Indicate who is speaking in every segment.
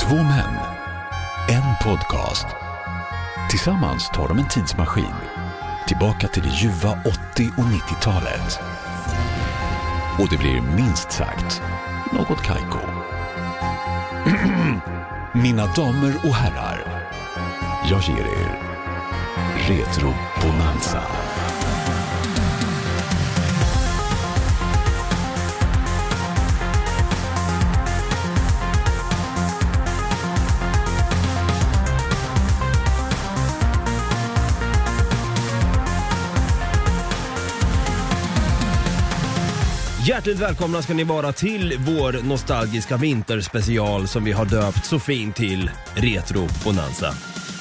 Speaker 1: Två män, en podcast. Tillsammans tar de en tidsmaskin tillbaka till det ljuva 80 och 90-talet. Och det blir minst sagt något kajko. Mina damer och herrar, jag ger er Retro Bonanza.
Speaker 2: Hjärtligt välkomna ska ni vara till vår nostalgiska vinterspecial som vi har döpt så fint till Retro Bonanza.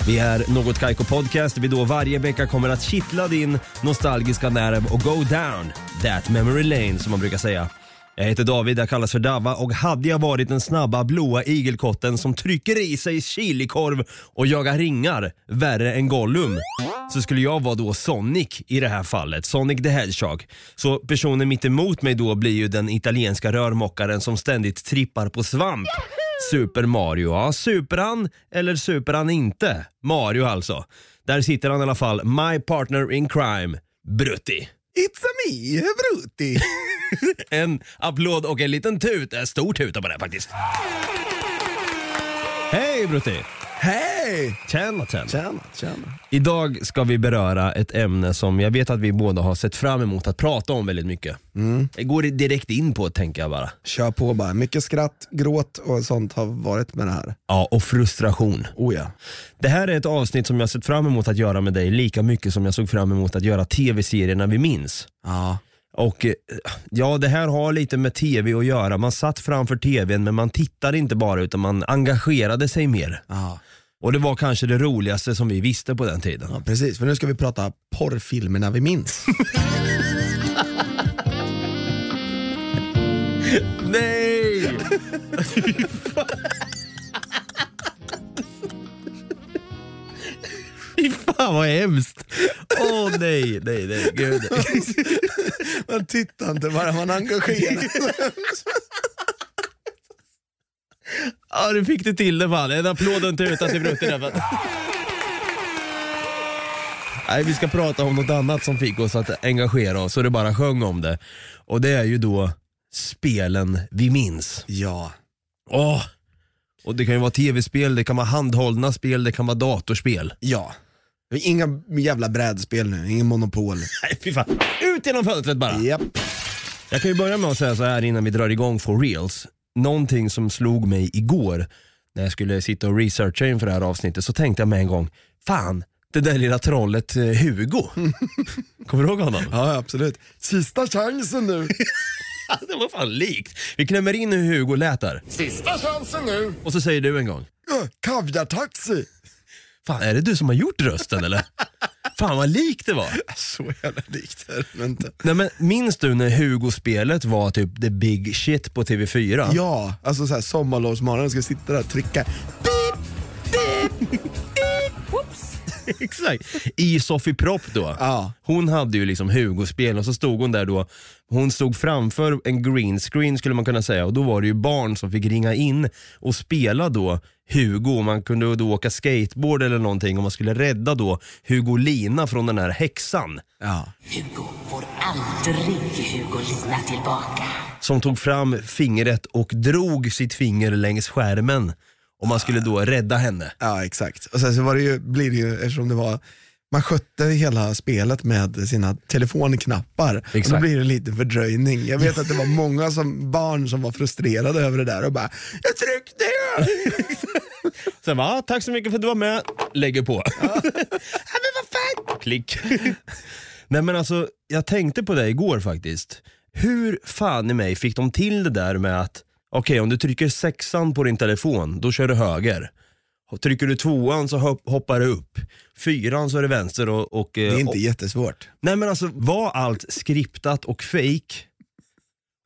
Speaker 2: Vi är Något Kaiko Podcast, vi då varje vecka kommer att kittla din nostalgiska nerv och go down that memory lane som man brukar säga. Jag heter David, jag kallas för Davva och hade jag varit den snabba blåa igelkotten som trycker i sig chilikorv och jagar ringar värre än Gollum så skulle jag vara då Sonic i det här fallet, Sonic the Hedgehog. Så personen mitt emot mig då blir ju den italienska rörmokaren som ständigt trippar på svamp. Super Mario, ja super han eller super han inte? Mario alltså. Där sitter han i alla fall, my partner in crime, Brutti.
Speaker 3: It's a me, Brutti.
Speaker 2: En applåd och en liten tut, en stor tuta på det här faktiskt. Hej Brutti!
Speaker 3: Hej!
Speaker 2: Tjena tjena.
Speaker 3: Tjena, tjena.
Speaker 2: Idag ska vi beröra ett ämne som jag vet att vi båda har sett fram emot att prata om väldigt mycket. Jag går direkt in på tänker jag bara.
Speaker 3: Kör på bara. Mycket skratt, gråt och sånt har varit med det här.
Speaker 2: Ja, och frustration.
Speaker 3: Oh ja.
Speaker 2: Det här är ett avsnitt som jag sett fram emot att göra med dig lika mycket som jag såg fram emot att göra tv-serierna vi minns.
Speaker 3: Ja.
Speaker 2: Och eh, ja, det här har lite med tv att göra. Man satt framför tvn men man tittade inte bara utan man engagerade sig mer.
Speaker 3: Ja.
Speaker 2: Och det var kanske det roligaste som vi visste på den tiden.
Speaker 3: ja, precis. För nu ska vi prata porrfilmerna vi minns.
Speaker 2: Nej! Fy fan vad hemskt! Åh nej, nej, nej, gud.
Speaker 3: man tittar inte bara, man engagerar
Speaker 2: Ja, du fick det till det fan. En applåd och en tuta till Brutti där. men- Nej, vi ska prata om något annat som fick oss att engagera oss och det bara sjöng om det. Och det är ju då spelen vi minns.
Speaker 3: Ja.
Speaker 2: Åh! Och det kan ju vara tv-spel, det kan vara handhållna spel, det kan vara datorspel.
Speaker 3: Ja. Inga jävla brädspel nu, ingen monopol.
Speaker 2: Nej fy fan. Ut genom fönstret bara!
Speaker 3: Japp.
Speaker 2: Jag kan ju börja med att säga så här innan vi drar igång for reals. Någonting som slog mig igår när jag skulle sitta och researcha inför det här avsnittet så tänkte jag med en gång, fan det där lilla trollet eh, Hugo. Kommer du ihåg honom?
Speaker 3: Ja, absolut. Sista chansen nu.
Speaker 2: det var fan likt. Vi klämmer in hur Hugo lät där.
Speaker 3: Sista chansen nu.
Speaker 2: Och så säger du en gång,
Speaker 3: Kaviartaxi.
Speaker 2: fan är det du som har gjort rösten eller? fan vad likt det var.
Speaker 3: Så jävla likt är det inte.
Speaker 2: Nej men minns du när Hugo-spelet var typ the big shit på TV4?
Speaker 3: Ja, alltså såhär sommarlovsmorgon, ska sitta där och trycka. Beep, beep.
Speaker 2: Exakt. I Sofie Propp då.
Speaker 3: Ja.
Speaker 2: Hon hade ju liksom Hugo-spel och så stod hon där då. Hon stod framför en green screen skulle man kunna säga och då var det ju barn som fick ringa in och spela då Hugo. Man kunde då åka skateboard eller någonting och man skulle rädda då Hugolina från den här häxan.
Speaker 3: Ja.
Speaker 4: Hugo får aldrig Hugolina tillbaka.
Speaker 2: Som tog fram fingret och drog sitt finger längs skärmen. Och man skulle då rädda henne.
Speaker 3: ja, exakt. Och sen så var det ju, blir det ju, eftersom det var, man skötte hela spelet med sina telefonknappar. Och
Speaker 2: Exakt.
Speaker 3: då blir det lite fördröjning. Jag vet att det var många som, barn som var frustrerade över det där och bara, jag tryckte ju!
Speaker 2: Sen bara, "Ah, tack så mycket för att du var med. Lägger på. Ja. men vad fan! Klick. Nej men alltså, jag tänkte på det igår faktiskt. Hur fan i mig fick de till det där med att, okej om du trycker sexan på din telefon, då kör du höger. Trycker du tvåan så hop- hoppar det upp. Fyran så är det vänster och... och
Speaker 3: Det är inte jättesvårt.
Speaker 2: Nej men alltså, var allt skriptat och fake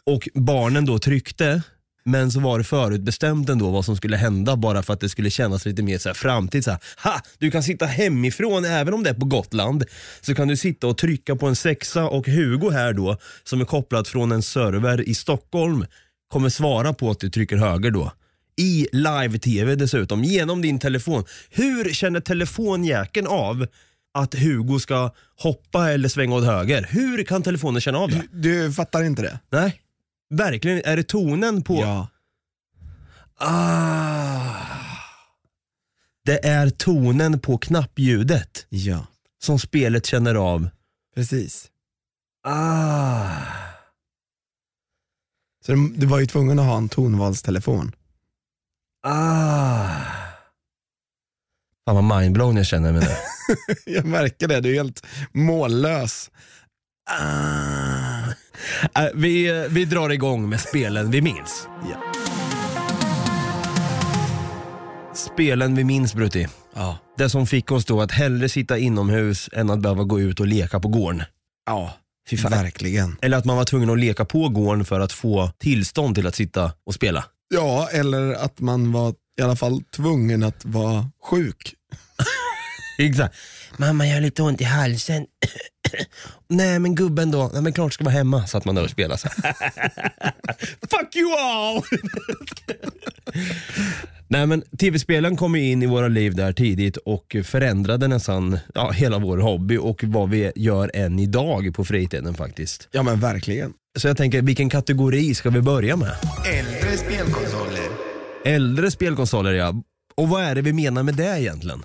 Speaker 2: och barnen då tryckte men så var det förutbestämt ändå vad som skulle hända bara för att det skulle kännas lite mer så här framtid. Så här, ha! Du kan sitta hemifrån även om det är på Gotland. Så kan du sitta och trycka på en sexa och Hugo här då som är kopplad från en server i Stockholm kommer svara på att du trycker höger då. i live-tv dessutom, genom din telefon. Hur känner telefonjäkeln av att Hugo ska hoppa eller svänga åt höger? Hur kan telefonen känna av det?
Speaker 3: Du fattar inte det?
Speaker 2: Nej, verkligen. Är det tonen på?
Speaker 3: Ja.
Speaker 2: Ah. Det är tonen på knappljudet
Speaker 3: Ja,
Speaker 2: som spelet känner av.
Speaker 3: precis.
Speaker 2: Ah.
Speaker 3: Så du, du var ju tvungen att ha en tonvalstelefon.
Speaker 2: Ah. Fan vad mindblown jag känner mig nu.
Speaker 3: Jag märker det, du är helt mållös. Ah.
Speaker 2: Eh, vi, vi drar igång med spelen vi minns.
Speaker 3: Ja.
Speaker 2: Spelen vi minns Brutti.
Speaker 3: Ja.
Speaker 2: Det som fick oss då att hellre sitta inomhus än att behöva gå ut och leka på gården.
Speaker 3: Ja,
Speaker 2: Fy fan.
Speaker 3: verkligen.
Speaker 2: Eller att man var tvungen att leka på gården för att få tillstånd till att sitta och spela.
Speaker 3: Ja, eller att man var i alla fall tvungen att vara sjuk.
Speaker 2: Exakt. Mamma, jag har lite ont i halsen. Nej men gubben då, nej men klart ska vara hemma. Satt man där och spelade så här. Fuck you all! nej men tv-spelen kom ju in i våra liv där tidigt och förändrade nästan ja, hela vår hobby och vad vi gör än idag på fritiden faktiskt.
Speaker 3: Ja men verkligen.
Speaker 2: Så jag tänker, vilken kategori ska vi börja med?
Speaker 3: Äldre spelkonsoler.
Speaker 2: Äldre spelkonsoler ja. Och vad är det vi menar med det egentligen?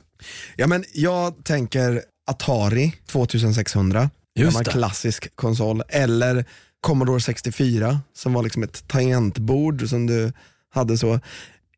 Speaker 3: Ja men jag tänker Atari 2600.
Speaker 2: Just
Speaker 3: en
Speaker 2: det.
Speaker 3: klassisk konsol. Eller Commodore 64 som var liksom ett tangentbord som du hade så.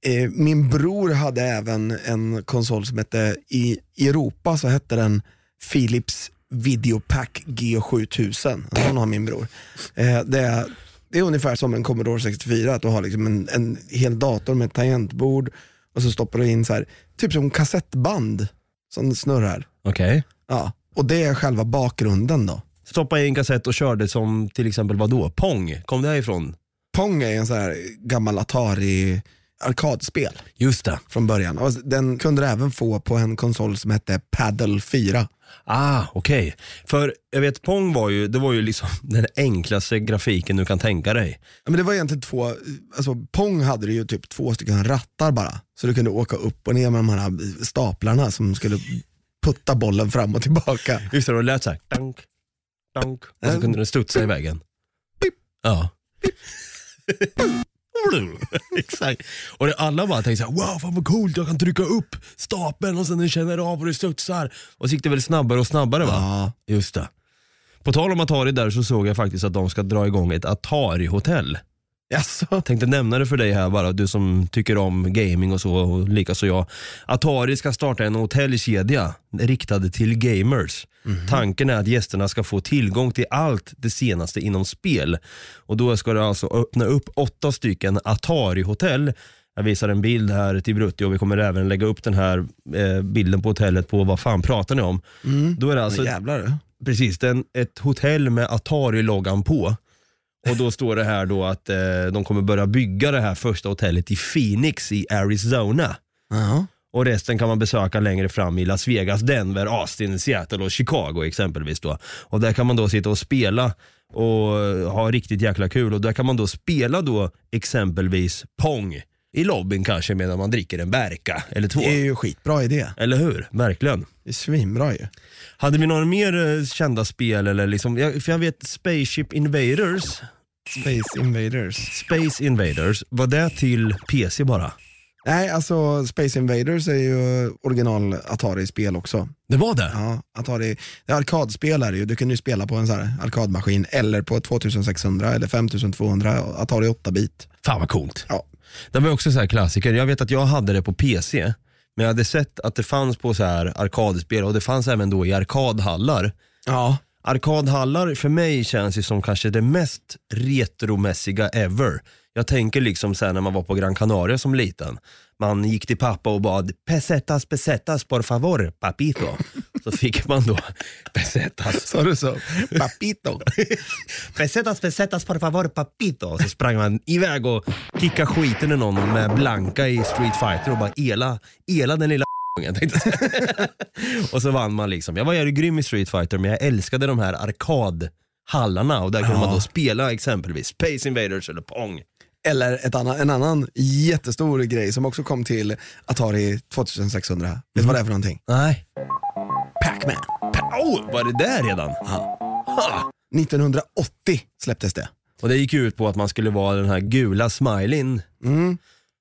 Speaker 3: Eh, Min bror hade även en konsol som hette, i Europa så hette den Philips Videopack G7000. En sån har min bror. Eh, Det är, det är ungefär som en Commodore 64, att du har liksom en, en hel dator med ett tangentbord och så stoppar du in så här, typ som kassettband som snurrar.
Speaker 2: Okej.
Speaker 3: Ja, och det är själva bakgrunden då.
Speaker 2: Stoppa i en kassett och körde som till exempel vad då? Pong? Kom det ifrån?
Speaker 3: Pong är en så här gammal Atari arkadspel
Speaker 2: Just det.
Speaker 3: från början. Och den kunde du även få på en konsol som hette Paddle 4.
Speaker 2: Ah, okej. För jag vet, Pong var ju, det var ju liksom den enklaste grafiken du kan tänka dig.
Speaker 3: Ja, Men det var egentligen två, alltså Pong hade du ju typ två stycken rattar bara. Så du kunde åka upp och ner med de här staplarna som skulle putta bollen fram och tillbaka.
Speaker 2: Just det, och det lät såhär, dank, dank. Och så
Speaker 3: Mm.
Speaker 2: kunde den studsa i vägen. Ja. Exakt. Och det, alla bara tänkte såhär, wow fan vad coolt, jag kan trycka upp stapeln och sen den känner av och det studsar. Och så gick det väl snabbare och snabbare va?
Speaker 3: Ja,
Speaker 2: Just det. På tal om Atari där så såg jag faktiskt att de ska dra igång ett Atari-hotell.
Speaker 3: Jaså?
Speaker 2: Tänkte nämna det för dig här bara, du som tycker om gaming och så, och likaså jag. Atari ska starta en hotellkedja riktad till gamers. Tanken är att gästerna ska få tillgång till allt det senaste inom spel. Och då ska det alltså öppna upp åtta stycken Atari-hotell. Jag visar en bild här till Brutti och vi kommer även lägga upp den här eh, bilden på hotellet på vad fan pratar ni om? Då är det alltså
Speaker 3: Men jävlar du.
Speaker 2: Precis, det är en, ett hotell med Atari-loggan på. Och då står det här då att eh, de kommer börja bygga det här första hotellet i Phoenix i Arizona.
Speaker 3: Ja.
Speaker 2: Och resten kan man besöka längre fram i Las Vegas, Denver, Austin, Seattle och Chicago exempelvis då. Och där kan man då sitta och spela och eh, ha riktigt jäkla kul. Och där kan man då spela då exempelvis Pong i lobbyn kanske medan man dricker en berka eller två.
Speaker 3: Det är ju skitbra idé.
Speaker 2: Eller hur? Verkligen.
Speaker 3: Det är svinbra ju.
Speaker 2: Hade vi några mer eh, kända spel eller liksom, jag, för jag vet Spaceship Invaders,
Speaker 3: Space Invaders.
Speaker 2: Space Invaders, var det till PC bara?
Speaker 3: Nej, alltså Space Invaders är ju original Atari-spel också.
Speaker 2: Det var det?
Speaker 3: Ja, Atari, det är arkadspel är det ju. Du kunde ju spela på en sån här arkadmaskin eller på 2600 eller 5200 Atari 8-bit.
Speaker 2: Fan vad coolt.
Speaker 3: Ja.
Speaker 2: Det var också så här klassiker, jag vet att jag hade det på PC, men jag hade sett att det fanns på så här arkadspel och det fanns även då i arkadhallar.
Speaker 3: Ja.
Speaker 2: Arkadhallar för mig känns ju som kanske det mest retromässiga ever. Jag tänker liksom sen när man var på Gran Canaria som liten. Man gick till pappa och bad pesetas, pesetas, por favor, papito. Så fick man då pesetas,
Speaker 3: Sa du så? Papito.
Speaker 2: pesetas, pesetas, por favor, papito. Så sprang man iväg och kickade skiten i någon med Blanka i Street Fighter och bara ela, ela den lilla ungen, tänkte jag säga. och så vann man liksom. Jag var ju grym i Street Fighter men jag älskade de här arkadhallarna och där kunde man då spela exempelvis Space Invaders eller Pong.
Speaker 3: Eller ett annan, en annan jättestor grej som också kom till Atari 2600. Vet du vad det är för någonting?
Speaker 2: Nej.
Speaker 3: Pac-Man.
Speaker 2: Oh, var det där redan?
Speaker 3: Ja. 1980 släpptes det.
Speaker 2: Och det gick ju ut på att man skulle vara den här gula smileyn
Speaker 3: Mm,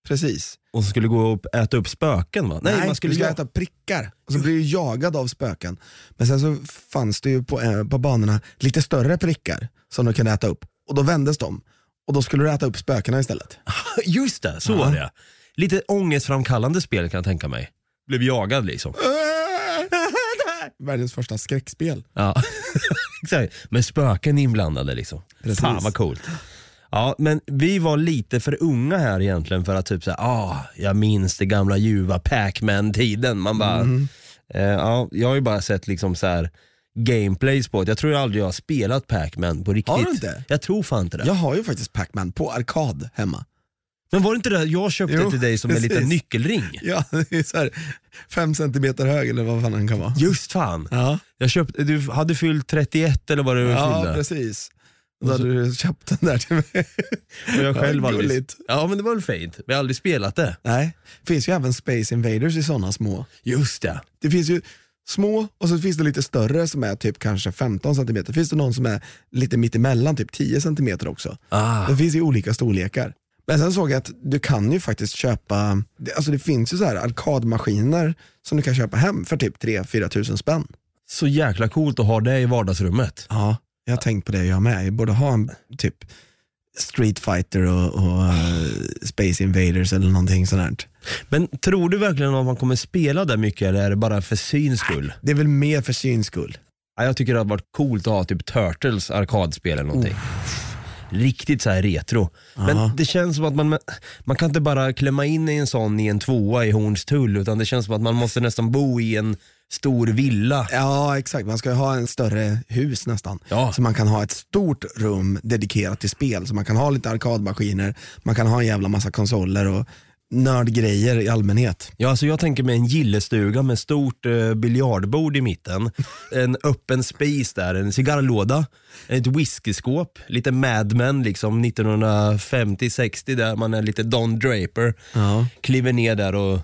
Speaker 3: precis.
Speaker 2: och så skulle gå upp äta upp spöken va?
Speaker 3: Nej,
Speaker 2: man
Speaker 3: du ska
Speaker 2: ja-
Speaker 3: äta prickar och så blir du jagad av spöken. Men sen så fanns det ju på, eh, på banorna lite större prickar som du kunde äta upp. Och då vändes de. Och då skulle du äta upp spökena istället.
Speaker 2: Just det, så var det Lite ångestframkallande spel kan jag tänka mig. Blev jagad liksom.
Speaker 3: Världens första skräckspel.
Speaker 2: Ja. Exakt. Med spöken inblandade liksom.
Speaker 3: Precis.
Speaker 2: Fan vad coolt. Ja, men vi var lite för unga här egentligen för att typ såhär, ah, jag minns det gamla ljuva Pac-Man-tiden. Man bara,
Speaker 3: Mhm.
Speaker 2: eh, ja, jag har ju bara sett liksom så här gameplays på det. Jag tror jag aldrig jag har spelat Pac-Man på riktigt.
Speaker 3: Har du inte?
Speaker 2: Jag tror fan inte det.
Speaker 3: Jag har ju faktiskt Pac-Man på arkad hemma.
Speaker 2: Men var det inte det jag köpte
Speaker 3: Jo,
Speaker 2: till dig som en liten
Speaker 3: precis.
Speaker 2: nyckelring?
Speaker 3: Ja, det är så här, fem centimeter hög eller vad fan han kan vara.
Speaker 2: Just fan.
Speaker 3: Ja,
Speaker 2: Jag köpte, du hade fyllt 31 eller vad det
Speaker 3: ja
Speaker 2: fyllde.
Speaker 3: precis. Då hade du köpt den där till mig.
Speaker 2: Och jag
Speaker 3: Ja,
Speaker 2: själv aldrig...
Speaker 3: gulligt.
Speaker 2: Ja men det var väl fint. Vi har aldrig spelat det.
Speaker 3: Nej, finns ju även Space Invaders i sådana små.
Speaker 2: Just det.
Speaker 3: Det finns ju små och så finns det lite större som är typ kanske 15 centimeter. Finns det någon som är lite mittemellan, typ 10 centimeter också.
Speaker 2: Ah.
Speaker 3: Det finns i olika storlekar. Men sen såg jag att du kan ju faktiskt köpa, det- alltså det finns ju så här arkadmaskiner som du kan köpa hem för typ 3-4 tusen spänn.
Speaker 2: Så jäkla coolt att ha det i vardagsrummet.
Speaker 3: Ja, jag har tänkt på det jag med. Jag borde ha en typ Street Fighter och, och eh, Space Invaders eller någonting sånt. här.
Speaker 2: Men tror du verkligen att man kommer spela det mycket eller är det bara för syns skull?
Speaker 3: Det är väl mer för syns skull.
Speaker 2: Ja, jag tycker det hade varit coolt att ha typ Turtles arkadspel eller någonting. Riktigt så här retro.
Speaker 3: Aha.
Speaker 2: Men det känns som att man, man kan inte bara klämma in i en sån i en tvåa i Hornstull utan det känns som att man måste nästan bo i en stor villa.
Speaker 3: Ja exakt, man ska ju ha en större hus nästan.
Speaker 2: Ja.
Speaker 3: Så man kan ha ett stort rum dedikerat till spel. Så man kan ha lite arkadmaskiner, man kan ha en jävla massa konsoler och nördgrejer i allmänhet.
Speaker 2: Ja, alltså jag tänker mig en gillestuga med stort eh, biljardbord i mitten, en öppen spis där, en cigarrlåda, ett whiskyskåp, lite Mad Men liksom 1950-60 där man är lite Don Draper,
Speaker 3: Ja.
Speaker 2: kliver ner där och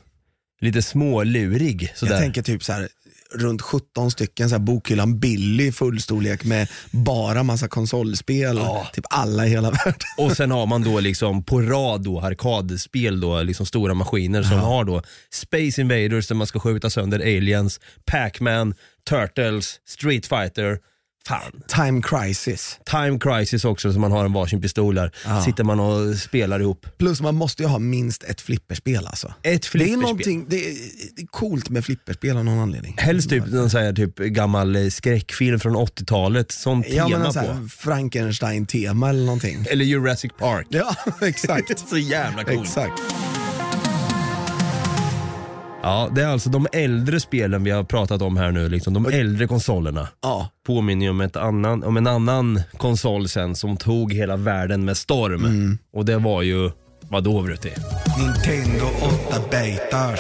Speaker 2: lite smålurig
Speaker 3: Jag
Speaker 2: sådär.
Speaker 3: tänker typ så här runt 17 stycken så här bokhyllan Billy i fullstorlek med bara massa konsolspel.
Speaker 2: Ja.
Speaker 3: Typ alla i hela världen.
Speaker 2: Och sen har man då liksom på rad då arkadspel då, liksom stora maskiner som har då Space Invaders där man ska skjuta sönder aliens, Pac-Man, Turtles, Street Fighter. Fan.
Speaker 3: Time crisis.
Speaker 2: Time Crisis också, så man har en varsin pistol där.
Speaker 3: Ah.
Speaker 2: Sitter man och spelar ihop.
Speaker 3: Plus man måste ju ha minst ett flipperspel alltså.
Speaker 2: Ett
Speaker 3: Det är,
Speaker 2: flipperspel.
Speaker 3: någonting, det är det är coolt med flipperspel av någon anledning.
Speaker 2: Helst typ,
Speaker 3: Mm.
Speaker 2: någon så här, typ gammal eh, skräckfilm från 80-talet, sån
Speaker 3: Ja,
Speaker 2: tema
Speaker 3: men en
Speaker 2: på.
Speaker 3: sån här Frankenstein-tema eller någonting.
Speaker 2: Eller Jurassic Park.
Speaker 3: Ja, exakt.
Speaker 2: Så jävla coolt.
Speaker 3: exakt.
Speaker 2: Ja, det är alltså de äldre spelen vi har pratat om här nu, liksom, de äldre konsolerna.
Speaker 3: Ja.
Speaker 2: Påminner ju om, ett annan, om en annan konsol sen som tog hela världen med storm.
Speaker 3: Mm.
Speaker 2: Och det var ju, vadå Brutti?
Speaker 3: Nintendo 8-bitars.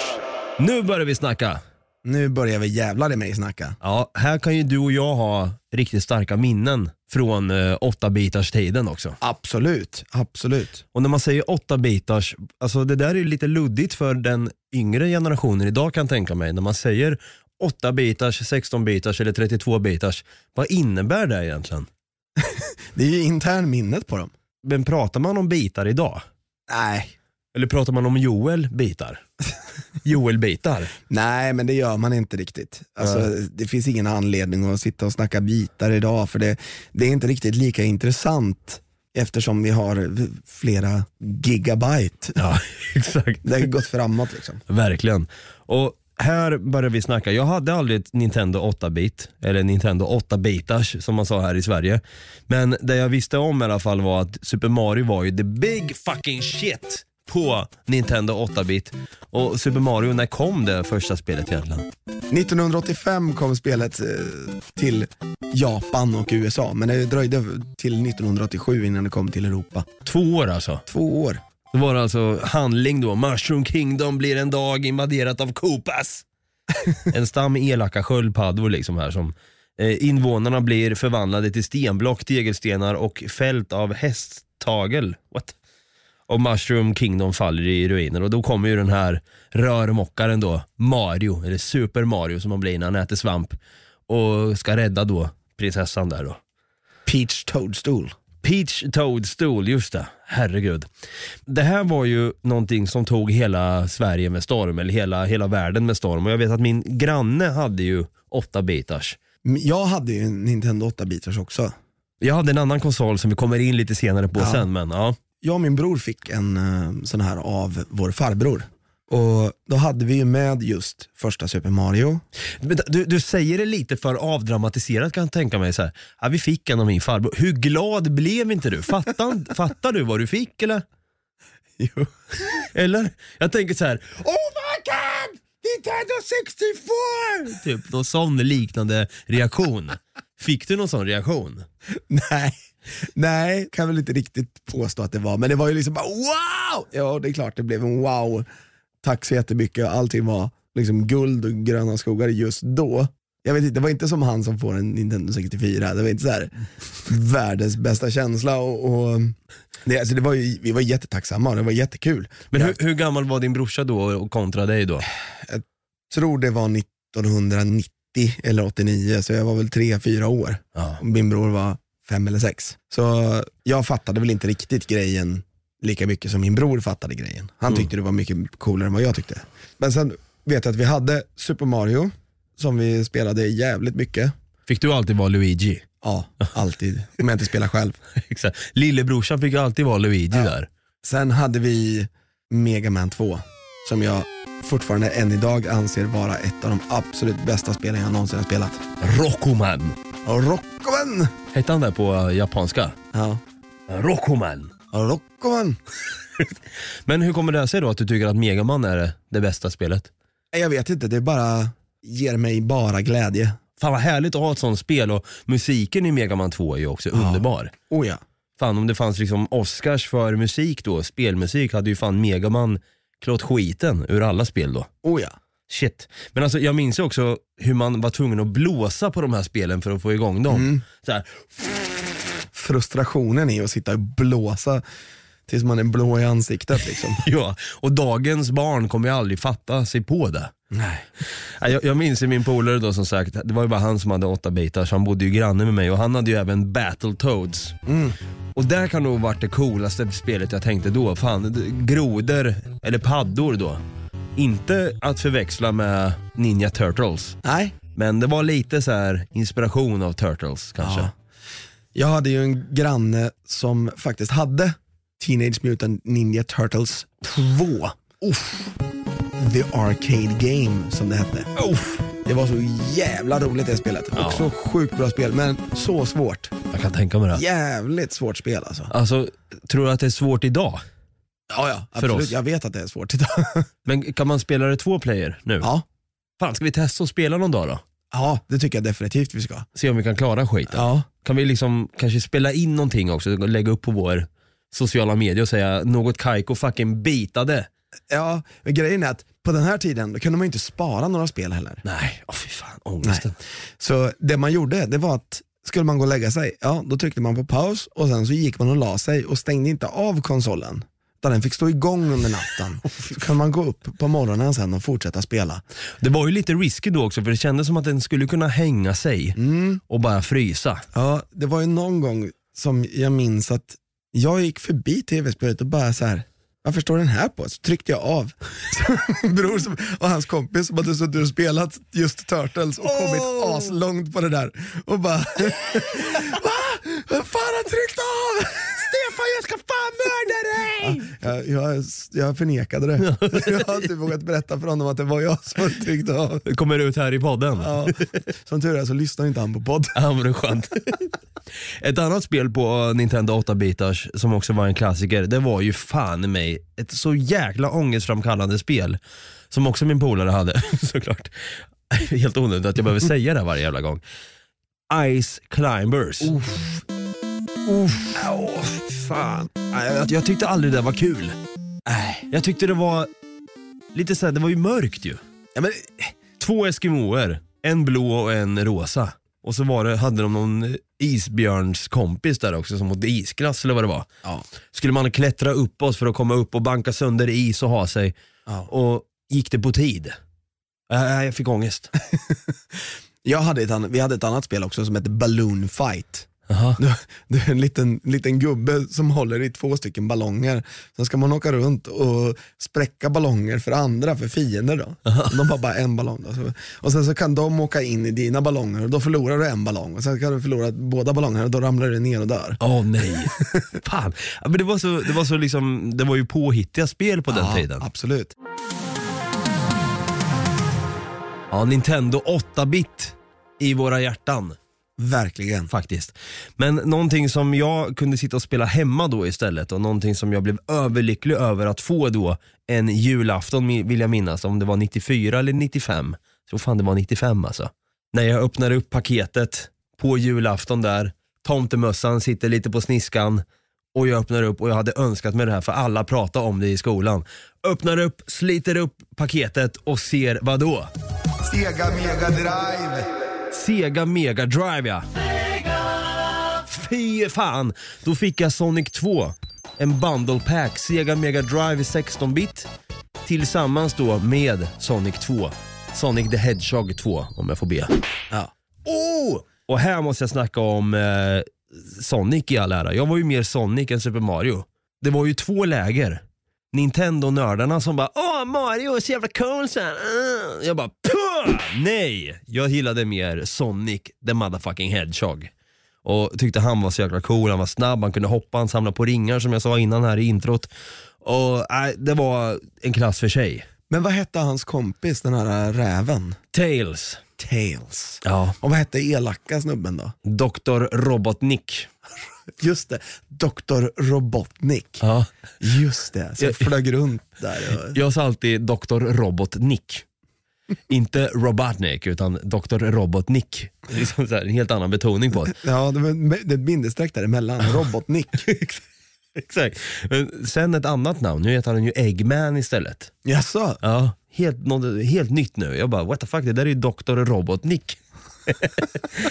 Speaker 2: Nu börjar vi snacka!
Speaker 3: Nu börjar vi jävlar i mig snacka.
Speaker 2: Ja, här kan ju du och jag ha riktigt starka minnen från eh, 8-bitars-tiden också.
Speaker 3: Absolut, absolut.
Speaker 2: Och när man säger 8-bitars, alltså det där är ju lite luddigt för den yngre generationen idag kan jag tänka mig. När man säger 8-bitars, 16-bitars eller 32-bitars, vad innebär det egentligen?
Speaker 3: Det är ju intern minnet på dem.
Speaker 2: Men pratar man om bitar idag?
Speaker 3: Nej,
Speaker 2: Eller pratar man om Joel-bitar? Joel-bitar?
Speaker 3: Nej, men det gör man inte riktigt. Alltså, Det finns ingen anledning att sitta och snacka bitar idag, för det, det är inte riktigt lika intressant eftersom vi har flera gigabyte.
Speaker 2: Ja, exakt.
Speaker 3: Det har ju gått framåt liksom.
Speaker 2: Verkligen. Och här börjar vi snacka. Jag hade aldrig ett Nintendo 8-bit, eller Nintendo 8-bitars som man sa här i Sverige. Men det jag visste om i alla fall var att Super Mario var ju the big fucking shit på Nintendo 8-bit. Och Super Mario, när kom det första spelet egentligen?
Speaker 3: 1985 kom spelet eh, till Japan och USA, men det dröjde till 1987 innan det kom till Europa.
Speaker 2: Två år alltså.
Speaker 3: Två år.
Speaker 2: Det var alltså handling då. Mushroom Kingdom blir en dag invaderat av Koopas. En stam elaka sköldpaddor liksom här som eh, invånarna blir förvandlade till stenblock, tegelstenar och fält av hästtagel. What? och Mushroom Kingdom faller i ruiner och då kommer ju den här rörmokaren då, Mario, eller Super Mario som han blir när han äter svamp och ska rädda då prinsessan där då.
Speaker 3: Peach Toadstool.
Speaker 2: Peach Toadstool, just det. Herregud. Det här var ju någonting som tog hela Sverige med storm, eller hela, hela världen med storm. Och jag vet att min granne hade ju 8-bitars.
Speaker 3: Men Jag hade ju en Nintendo 8-bitars också.
Speaker 2: Jag hade en annan konsol som vi kommer in lite senare på
Speaker 3: Ja.
Speaker 2: sen, men ja.
Speaker 3: Jag och min bror fick en eh, sån här av vår farbror. Och då hade vi ju med just första Super Mario.
Speaker 2: Vänta, Du, du säger det lite för avdramatiserat kan jag tänka mig. Så här. Ja, vi fick en av min farbror. Hur glad blev inte du? Fattar, fattar du vad du fick eller?
Speaker 3: Jo.
Speaker 2: Eller? Jag tänker så här. Oh my god! Nintendo 64! Typ någon sån liknande reaktion. Fick du någon sån reaktion?
Speaker 3: Nej, nej, kan väl inte riktigt påstå att det var. Men det var ju liksom bara wow! Ja, det är klart det blev en wow. Tack så jättemycket. Allting var liksom guld och gröna skogar just då. Jag vet inte, det var inte som han som får en Nintendo 64. Det var inte så här världens bästa känsla. Och, och det, alltså det var ju, vi var jättetacksamma och det var jättekul.
Speaker 2: Men hur, hur gammal var din brorsa då och kontra dig då?
Speaker 3: tror det var 1990 eller 89, så jag var väl 3-4 år.
Speaker 2: Ja.
Speaker 3: Och Min bror var 5 eller 6. Så jag fattade väl inte riktigt grejen lika mycket som min bror fattade grejen. Han tyckte det var mycket coolare än vad jag tyckte. Men sen vet jag att vi hade Super Mario, som vi spelade jävligt mycket.
Speaker 2: Fick du alltid vara Luigi?
Speaker 3: Ja, alltid. Om jag inte spelar själv.
Speaker 2: Exakt. Lillebrorsan fick ju alltid vara Luigi där.
Speaker 3: Sen hade vi Mega Man 2, som jag fortfarande än idag anser vara ett av de absolut bästa spelen jag någonsin har spelat.
Speaker 2: Rockoman.
Speaker 3: Rockoman!
Speaker 2: Hette han det på eh, japanska?
Speaker 3: Ja.
Speaker 2: Rockoman.
Speaker 3: Rockoman.
Speaker 2: Men hur kommer det sig då att du tycker att Megaman är det, det bästa spelet?
Speaker 3: Nej, Jag vet inte, det är bara ger mig bara glädje.
Speaker 2: Fan vad härligt att ha ett sånt spel och musiken i Megaman 2 är ju också underbar.
Speaker 3: Oh ja.
Speaker 2: Fan om det fanns liksom Oscars för musik då, spelmusik, hade ju fan Megaman klått skiten ur alla spel då.
Speaker 3: Oh ja.
Speaker 2: Shit. Men alltså jag minns ju också hur man var tvungen att blåsa på de här spelen för att få igång dem.
Speaker 3: Mm.
Speaker 2: Så här,
Speaker 3: Frustrationen i att sitta och blåsa tills man är blå i ansiktet liksom.
Speaker 2: ja. Och dagens barn kommer ju aldrig fatta sig på det.
Speaker 3: Nej.
Speaker 2: Ja, Jag, jag minns ju min polare då som sagt, det var ju bara han som hade åtta bitar så han bodde ju granne med mig och han hade ju även Battletoads.
Speaker 3: Mm.
Speaker 2: Och där kan nog varit det coolaste spelet jag tänkte då. Fan, d- grodor, eller paddor då. Inte att förväxla med Ninja Turtles.
Speaker 3: Nej.
Speaker 2: Men det var lite så här inspiration av Turtles kanske.
Speaker 3: Ja. Jag hade ju en granne som faktiskt hade Teenage Mutant Ninja Turtles 2. Uff. The Arcade Game som det hette. Uff. Det var så jävla roligt det spelet.
Speaker 2: Ja.
Speaker 3: Också sjukt bra spel, men så svårt.
Speaker 2: Jag kan tänka mig det.
Speaker 3: Jävligt svårt spel alltså.
Speaker 2: Alltså, tror du att det är svårt idag?
Speaker 3: Ja, ja,
Speaker 2: För
Speaker 3: absolut.
Speaker 2: oss.
Speaker 3: Jag vet att det är svårt. Titta.
Speaker 2: Men kan man spela det två player nu?
Speaker 3: ja.
Speaker 2: Fan, ska vi testa att spela någon dag då?
Speaker 3: ja, det tycker jag definitivt vi ska.
Speaker 2: Se om vi kan klara skiten.
Speaker 3: Ja.
Speaker 2: Kan vi liksom kanske spela in någonting också, lägga upp på vår sociala medier och säga något Kaiko fucking bitade.
Speaker 3: ja, men grejen är att på den här tiden då kunde man ju inte spara några spel heller.
Speaker 2: Nej, åh fy fan ångesten.
Speaker 3: Så det man gjorde, det var att skulle man gå och lägga sig, ja då tryckte man på paus och sen så gick man och la sig och stängde inte av konsolen. Utan den fick stå igång under natten. Så kan man gå upp på morgonen sen och fortsätta spela.
Speaker 2: Det var ju lite risky då också för det kändes som att den skulle kunna hänga sig och bara frysa.
Speaker 3: Ja, det var ju någon gång som jag minns att jag gick förbi tv-spelet och bara så här. varför står den här på? Så tryckte jag av. Så min bror som, och hans kompis som hade suttit och spelat just Turtles och kommit aslångt på det där och bara Va? Vem fan har tryckt av? Stefan jag ska fan mörda dig! Ja, jag, jag, jag förnekade det. Jag har inte vågat berätta för honom att det var jag som hade tryckt av.
Speaker 2: Det kommer ut här i podden. Ja,
Speaker 3: Ja, som tur är så lyssnar inte han på podden.
Speaker 2: men det är skönt. ett annat spel på eh, Nintendo 8-bitars som också var en klassiker, det var ju fan i mig ett så jäkla ångestframkallande spel. Som också min polare hade såklart. Helt onödigt att jag behöver säga det här varje jävla gång. Ice Climbers.
Speaker 3: Uff.
Speaker 2: Åh, fan. Nej, Jag, jag tyckte aldrig det var kul. Nej. Jag tyckte det var lite såhär, det var ju mörkt ju.
Speaker 3: Ja, men,
Speaker 2: Två eskimoer, en blå och en rosa. Och så var det, hade de någon isbjörnskompis där också som åt isglass eller vad det var.
Speaker 3: Ja.
Speaker 2: Skulle man klättra uppåt för att komma upp och banka sönder is och ha sig.
Speaker 3: Ja.
Speaker 2: Och gick det på tid? Äh, jag fick ångest.
Speaker 3: Jag hade ett, ann- vi hade ett annat spel också som hette Balloon Fight.
Speaker 2: Aha.
Speaker 3: Du, du är en liten, liten gubbe som håller i två stycken ballonger. Sen ska man åka runt och spräcka ballonger för andra, för fiender då. De har bara en ballong. Då. Så- Och sen så kan de åka in i dina ballonger och då förlorar du en ballong. Och sen kan du förlora båda ballongerna och då ramlar du ner och dör.
Speaker 2: Åh nej. Fan. Ja, men det, var så, det, var så liksom, det var ju påhittiga spel på den tiden.
Speaker 3: Absolut.
Speaker 2: Ja, Nintendo 8-bit i våra hjärtan.
Speaker 3: Verkligen.
Speaker 2: faktiskt. Men någonting som jag kunde sitta och spela hemma då istället och någonting som jag blev överlycklig över att få då en julafton mi- vill jag minnas, om det var 94 eller 95. Så fan det var 95 alltså. När jag öppnar upp paketet på julafton där, tomtemössan sitter lite på sniskan och jag öppnar upp och jag hade önskat mig det här för alla pratade om det i skolan. Öppnar upp, sliter upp paketet och ser vad då?
Speaker 5: Sega Mega Drive.
Speaker 2: Sega Mega Drive ja. Fy fan! Då fick jag Sonic 2. En bundle pack, Sega Mega Drive i 16-bit. Tillsammans då med Sonic 2. Sonic the Hedgehog 2 om jag får be.
Speaker 3: Ja.
Speaker 2: Oh! Och här måste jag snacka om eh, Sonic i all ära. Jag var ju mer Sonic än Super Mario. Det var ju två läger. Nintendo-nördarna som bara Åh, Mario är så jävla cool så här. Ah. Jag bara Puh! Nej! Jag gillade mer Sonic the motherfucking Hedgehog. Och tyckte han var så jäkla cool, han var snabb, han kunde hoppa, han samlade på ringar som jag sa innan här i introt. Och nej, det var en klass för sig.
Speaker 3: Men vad hette hans kompis, den här räven?
Speaker 2: Tails.
Speaker 3: Tails.
Speaker 2: Ja.
Speaker 3: Och vad hette elaka snubben då?
Speaker 2: Dr. Robotnik.
Speaker 3: Just det, Dr. Robotnik.
Speaker 2: Ja.
Speaker 3: Just det, som
Speaker 2: Jag-
Speaker 3: flög runt där. Och...
Speaker 2: Jag sa alltid Dr. Robotnik. Inte Robotnik, utan Dr. Robotnik. Liksom så här, en helt annan betoning på det.
Speaker 3: Ja, det var- det är ett bindestreck däremellan. Robotnick.
Speaker 2: Exakt. Men Sen ett annat namn, nu heter han ju Eggman istället.
Speaker 3: Jaså?
Speaker 2: Ja. Helt, något, helt nytt nu. Jag bara, what the fuck, det där är ju Dr. Robotnik.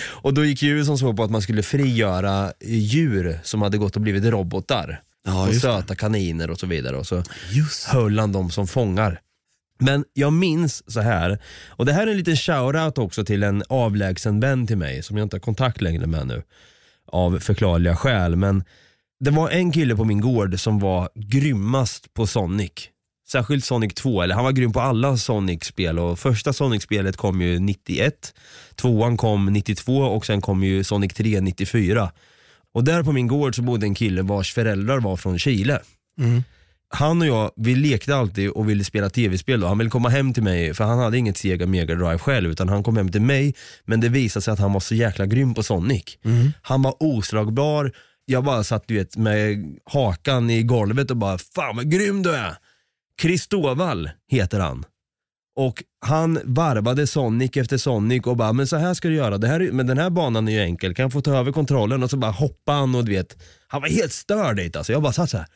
Speaker 2: och då gick ju som så på att man skulle frigöra djur som hade gått och blivit robotar.
Speaker 3: Ja,
Speaker 2: och
Speaker 3: just det.
Speaker 2: söta kaniner och så vidare. Och så
Speaker 3: Just
Speaker 2: höll han dem som fångar. Men jag minns så här, och det här är en liten shoutout också till en avlägsen vän till mig som jag inte har kontakt längre med nu. Av förklarliga skäl, men det var en kille på min gård som var grymmast på Sonic. Särskilt Sonic 2, eller han var grym på alla Sonic-spel och första Sonic-spelet kom ju 91, tvåan kom 92 och sen kom ju Sonic 3 94. Och där på min gård så bodde en kille vars föräldrar var från Chile han och jag, vi lekte alltid och ville spela tv-spel då. Han ville komma hem till mig, för han hade inget Sega Mega Drive själv, utan han kom hem till mig, men det visade sig att han var så jäkla grym på Sonic. Han var oslagbar, jag bara satt du vet, med hakan i golvet och bara, fan vad grym du är! Chris Dovall heter han. Och han varvade Sonic efter Sonic och bara, men så här ska du göra, det här, är- men den här banan är ju enkel, kan jag få ta över kontrollen? Och så bara hoppade han och du vet, han var helt störd dit alltså. Jag bara satt så här,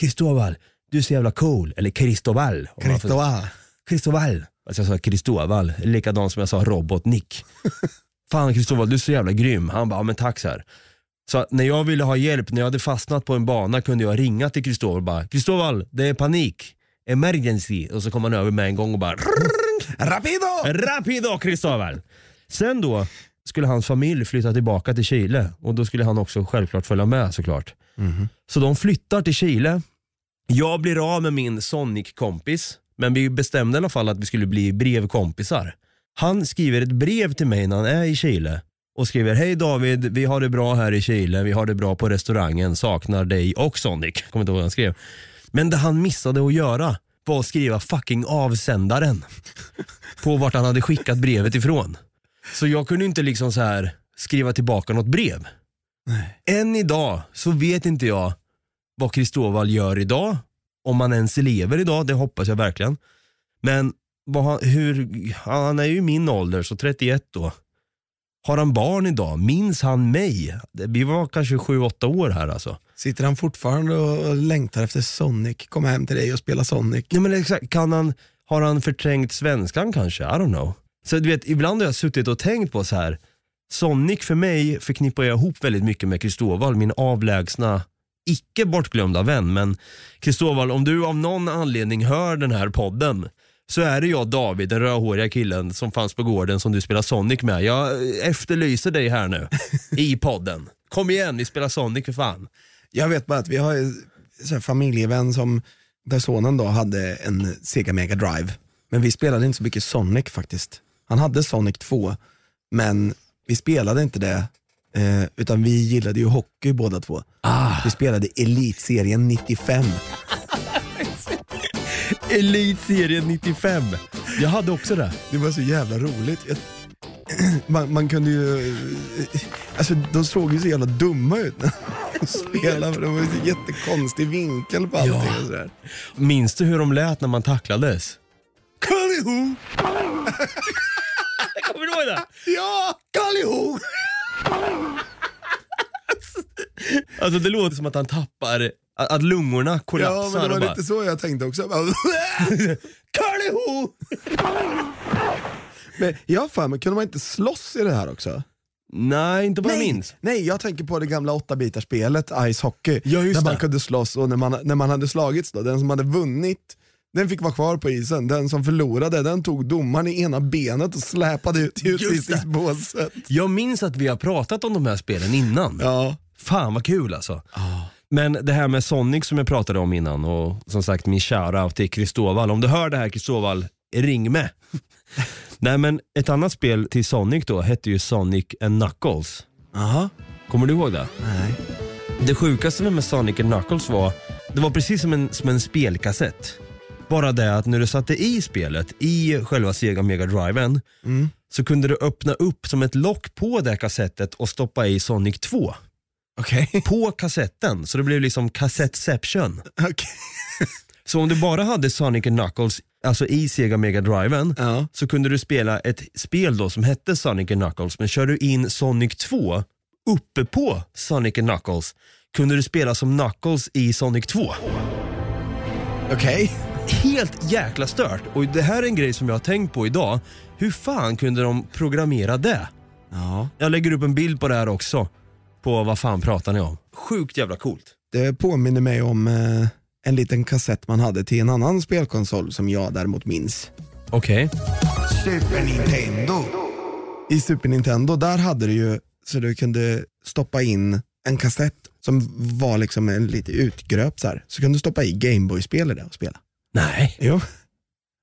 Speaker 2: Kristoval, du är så jävla cool. Eller Kristoval. om man får-
Speaker 3: Kritoa.
Speaker 2: Kristoval. Alltså jag sa Kristoval, likadant som jag sa robot-Nick. Fan Kristoval, du är så jävla grym. Han bara, ja, men tack så här. Så att när jag ville ha hjälp, när jag hade fastnat på en bana kunde jag ringa till Kristoval och bara, Kristoval, det är panik. Emergency. Och så kom han över med en gång och bara,
Speaker 3: Rapido!
Speaker 2: Rapido Kristoval! Sen då skulle hans familj flytta tillbaka till Chile och då skulle han också självklart följa med såklart. Så de flyttar till Chile. Jag blir av med min Sonic-kompis, men vi bestämde i alla fall att vi skulle bli brevkompisar. Han skriver ett brev till mig när han är i Chile och skriver Hej David, vi har det bra här i Chile, vi har det bra på restaurangen, saknar dig och Sonic. Kommer inte ihåg vad han skrev. Men det han missade att göra var att skriva fucking avsändaren på vart han hade skickat brevet ifrån. Så jag kunde inte liksom så här skriva tillbaka något brev. Än idag så vet inte jag vad Kristoval gör idag. Om han ens lever idag, det hoppas jag verkligen. Men vad han, hur, han är ju min ålder, så 31 då. Har han barn idag? Minns han mig? Vi var kanske 7-8 år här alltså.
Speaker 3: Sitter han fortfarande och längtar efter Sonic? Komma hem till dig och spela Sonic?
Speaker 2: Ja, men exakt. Kan han, har han förträngt svenskan kanske? I don't know. Så du vet, ibland har jag suttit och tänkt på så här. Sonic för mig förknippar jag ihop väldigt mycket med Kristoval, min avlägsna, icke bortglömda vän. Men Kristoval, om du av någon anledning hör den här podden så är det jag David, den rödhåriga killen som fanns på gården som du spelar Sonic med. Jag efterlyser dig här nu i podden. Kom igen, vi spelar Sonic för fan.
Speaker 3: Jag vet bara att vi har en så här familjevän som, där sonen då hade en Sega Mega Drive. Men vi spelade inte så mycket Sonic faktiskt. Han hade Sonic 2, men vi spelade inte det. Eh, utan vi gillade ju hockey båda två.
Speaker 1: Ah,
Speaker 3: Vi spelade Elitserien 95.
Speaker 2: Elitserien 95. Jag hade också det.
Speaker 3: Det var så jävla roligt. Jag, man, man kunde ju... Alltså de såg ju så jävla dumma ut när de spelade. för Det var ju så jättekonstig vinkel på allting. Och sådär.
Speaker 2: Minns du hur de lät när man tacklades?
Speaker 3: Kalliho!
Speaker 2: Kommer du ihåg det?
Speaker 3: Ja! Kalliho!
Speaker 2: Alltså det låter som att han tappar, att att lungorna
Speaker 3: Ja,
Speaker 2: kollapsar
Speaker 3: men det
Speaker 2: och
Speaker 3: var
Speaker 2: bara,
Speaker 3: lite så jag tänkte också. Jag bara,
Speaker 2: Kalliho!
Speaker 3: Men jag har för mig, kunde man inte slåss i det här också?
Speaker 2: Nej, inte vad jag minns.
Speaker 3: nej, jag tänker på det gamla åttabitarspelet Ice Hockey.
Speaker 2: Ja, just
Speaker 3: där man
Speaker 2: det.
Speaker 3: kunde slåss och när man, när man hade slagits, då, den som hade vunnit den fick vara kvar på isen, den som förlorade den tog domaren i ena benet och släpade ut i
Speaker 2: Just det.
Speaker 3: utvisningsbåset.
Speaker 2: Jag minns att vi har pratat om de här spelen innan.
Speaker 3: Ja.
Speaker 2: Fan vad kul alltså. Men det här med Sonic som jag pratade om innan och som sagt min shoutout till Kristoval. Om du hör det här Kristoval, ring med. Nej men ett annat spel till Sonic då hette ju Sonic and Knuckles.
Speaker 3: Aha.
Speaker 2: Kommer du ihåg det?
Speaker 3: Nej.
Speaker 2: Det sjukaste med Sonic and Knuckles var, det var precis som en, som en spelkassett. Bara det att när du satte i spelet, i själva Sega Mega Driven,
Speaker 3: Mm.
Speaker 2: så kunde du öppna upp som ett lock på det här kassettet och stoppa i Sonic 2.
Speaker 3: Okej.
Speaker 2: På kassetten, så det blev liksom kassettception.
Speaker 3: Okej.
Speaker 2: Så om du bara hade Sonic and Knuckles, alltså i Sega Mega Driven,
Speaker 3: Ja.
Speaker 2: så kunde du spela ett spel då som hette Sonic and Knuckles, men kör du in Sonic 2 uppe på Sonic and Knuckles kunde du spela som Knuckles i Sonic 2.
Speaker 3: Okej.
Speaker 2: Helt jäkla stört! Och det här är en grej som jag har tänkt på idag. Hur fan kunde de programmera det?
Speaker 3: Ja.
Speaker 2: Jag lägger upp en bild på det här också. På vad fan pratar ni om? Sjukt jävla coolt.
Speaker 3: Det påminner mig om eh, en liten kassett man hade till en annan spelkonsol som jag däremot minns.
Speaker 2: Okej.
Speaker 5: Super Nintendo.
Speaker 3: i Super Nintendo, där hade du ju så du kunde stoppa in en kassett som var liksom en lite utgröpt så här. Så kunde du stoppa i Gameboy-spel i det och spela.
Speaker 2: Nej.
Speaker 3: Jo.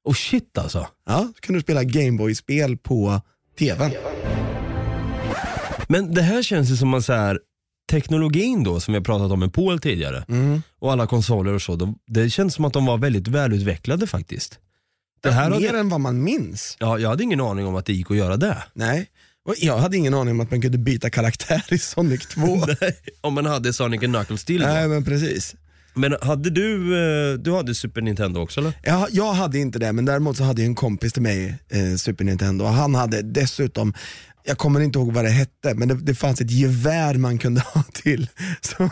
Speaker 2: Och shit alltså.
Speaker 3: Ja, så kunde du spela Gameboy-spel på TVn.
Speaker 2: Men det här känns ju som att så här, teknologin då som vi har pratat om med Paul tidigare och alla konsoler och så, de, det känns som att de var väldigt välutvecklade faktiskt. Det här
Speaker 3: Mer
Speaker 2: hade,
Speaker 3: än vad man minns.
Speaker 2: ja, jag hade ingen aning om att det gick att göra det.
Speaker 3: Nej. Och jag hade ingen aning om att man kunde byta karaktär i Sonic 2.
Speaker 2: om man hade Sonic and Knuckles till.
Speaker 3: Nej men precis.
Speaker 2: Men hade du, eh, du hade Super Nintendo också eller?
Speaker 3: Jag, jag hade inte det, men däremot så hade ju en kompis till mig eh, Super Nintendo och han hade dessutom, jag kommer inte ihåg vad det hette, men det, det fanns ett gevär man kunde ha till. Så,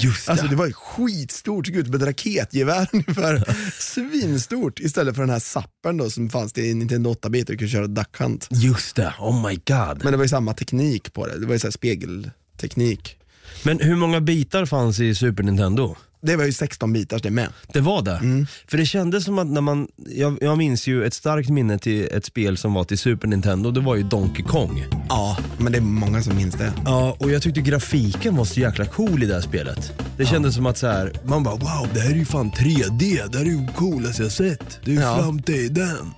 Speaker 2: Just
Speaker 3: alltså det var ju skitstort, såg ut som ett raketgevär ungefär. Svinstort istället för den här sappen då som fanns till Nintendo 8-bit och kunde köra Duck Hunt.
Speaker 2: Just det, oh my god. Men,
Speaker 3: Men det var ju samma teknik på det, det var ju så här spegelteknik.
Speaker 2: hur många bitar fanns i Super Nintendo?
Speaker 3: Det var ju 16 bitars det med.
Speaker 2: Det var det. För det kändes som att när man, jag, jag minns ju ett starkt minne till ett spel som var till Super Nintendo, det var ju Donkey Kong.
Speaker 3: Ja, men det är många som minns det.
Speaker 2: Ja, och jag tyckte grafiken var så jäkla cool i det här spelet. Det kändes som att så här, man bara wow, det här är ju fan 3D, det här är ju coolaste jag sett. Det är ju
Speaker 3: Ja.
Speaker 2: framtiden.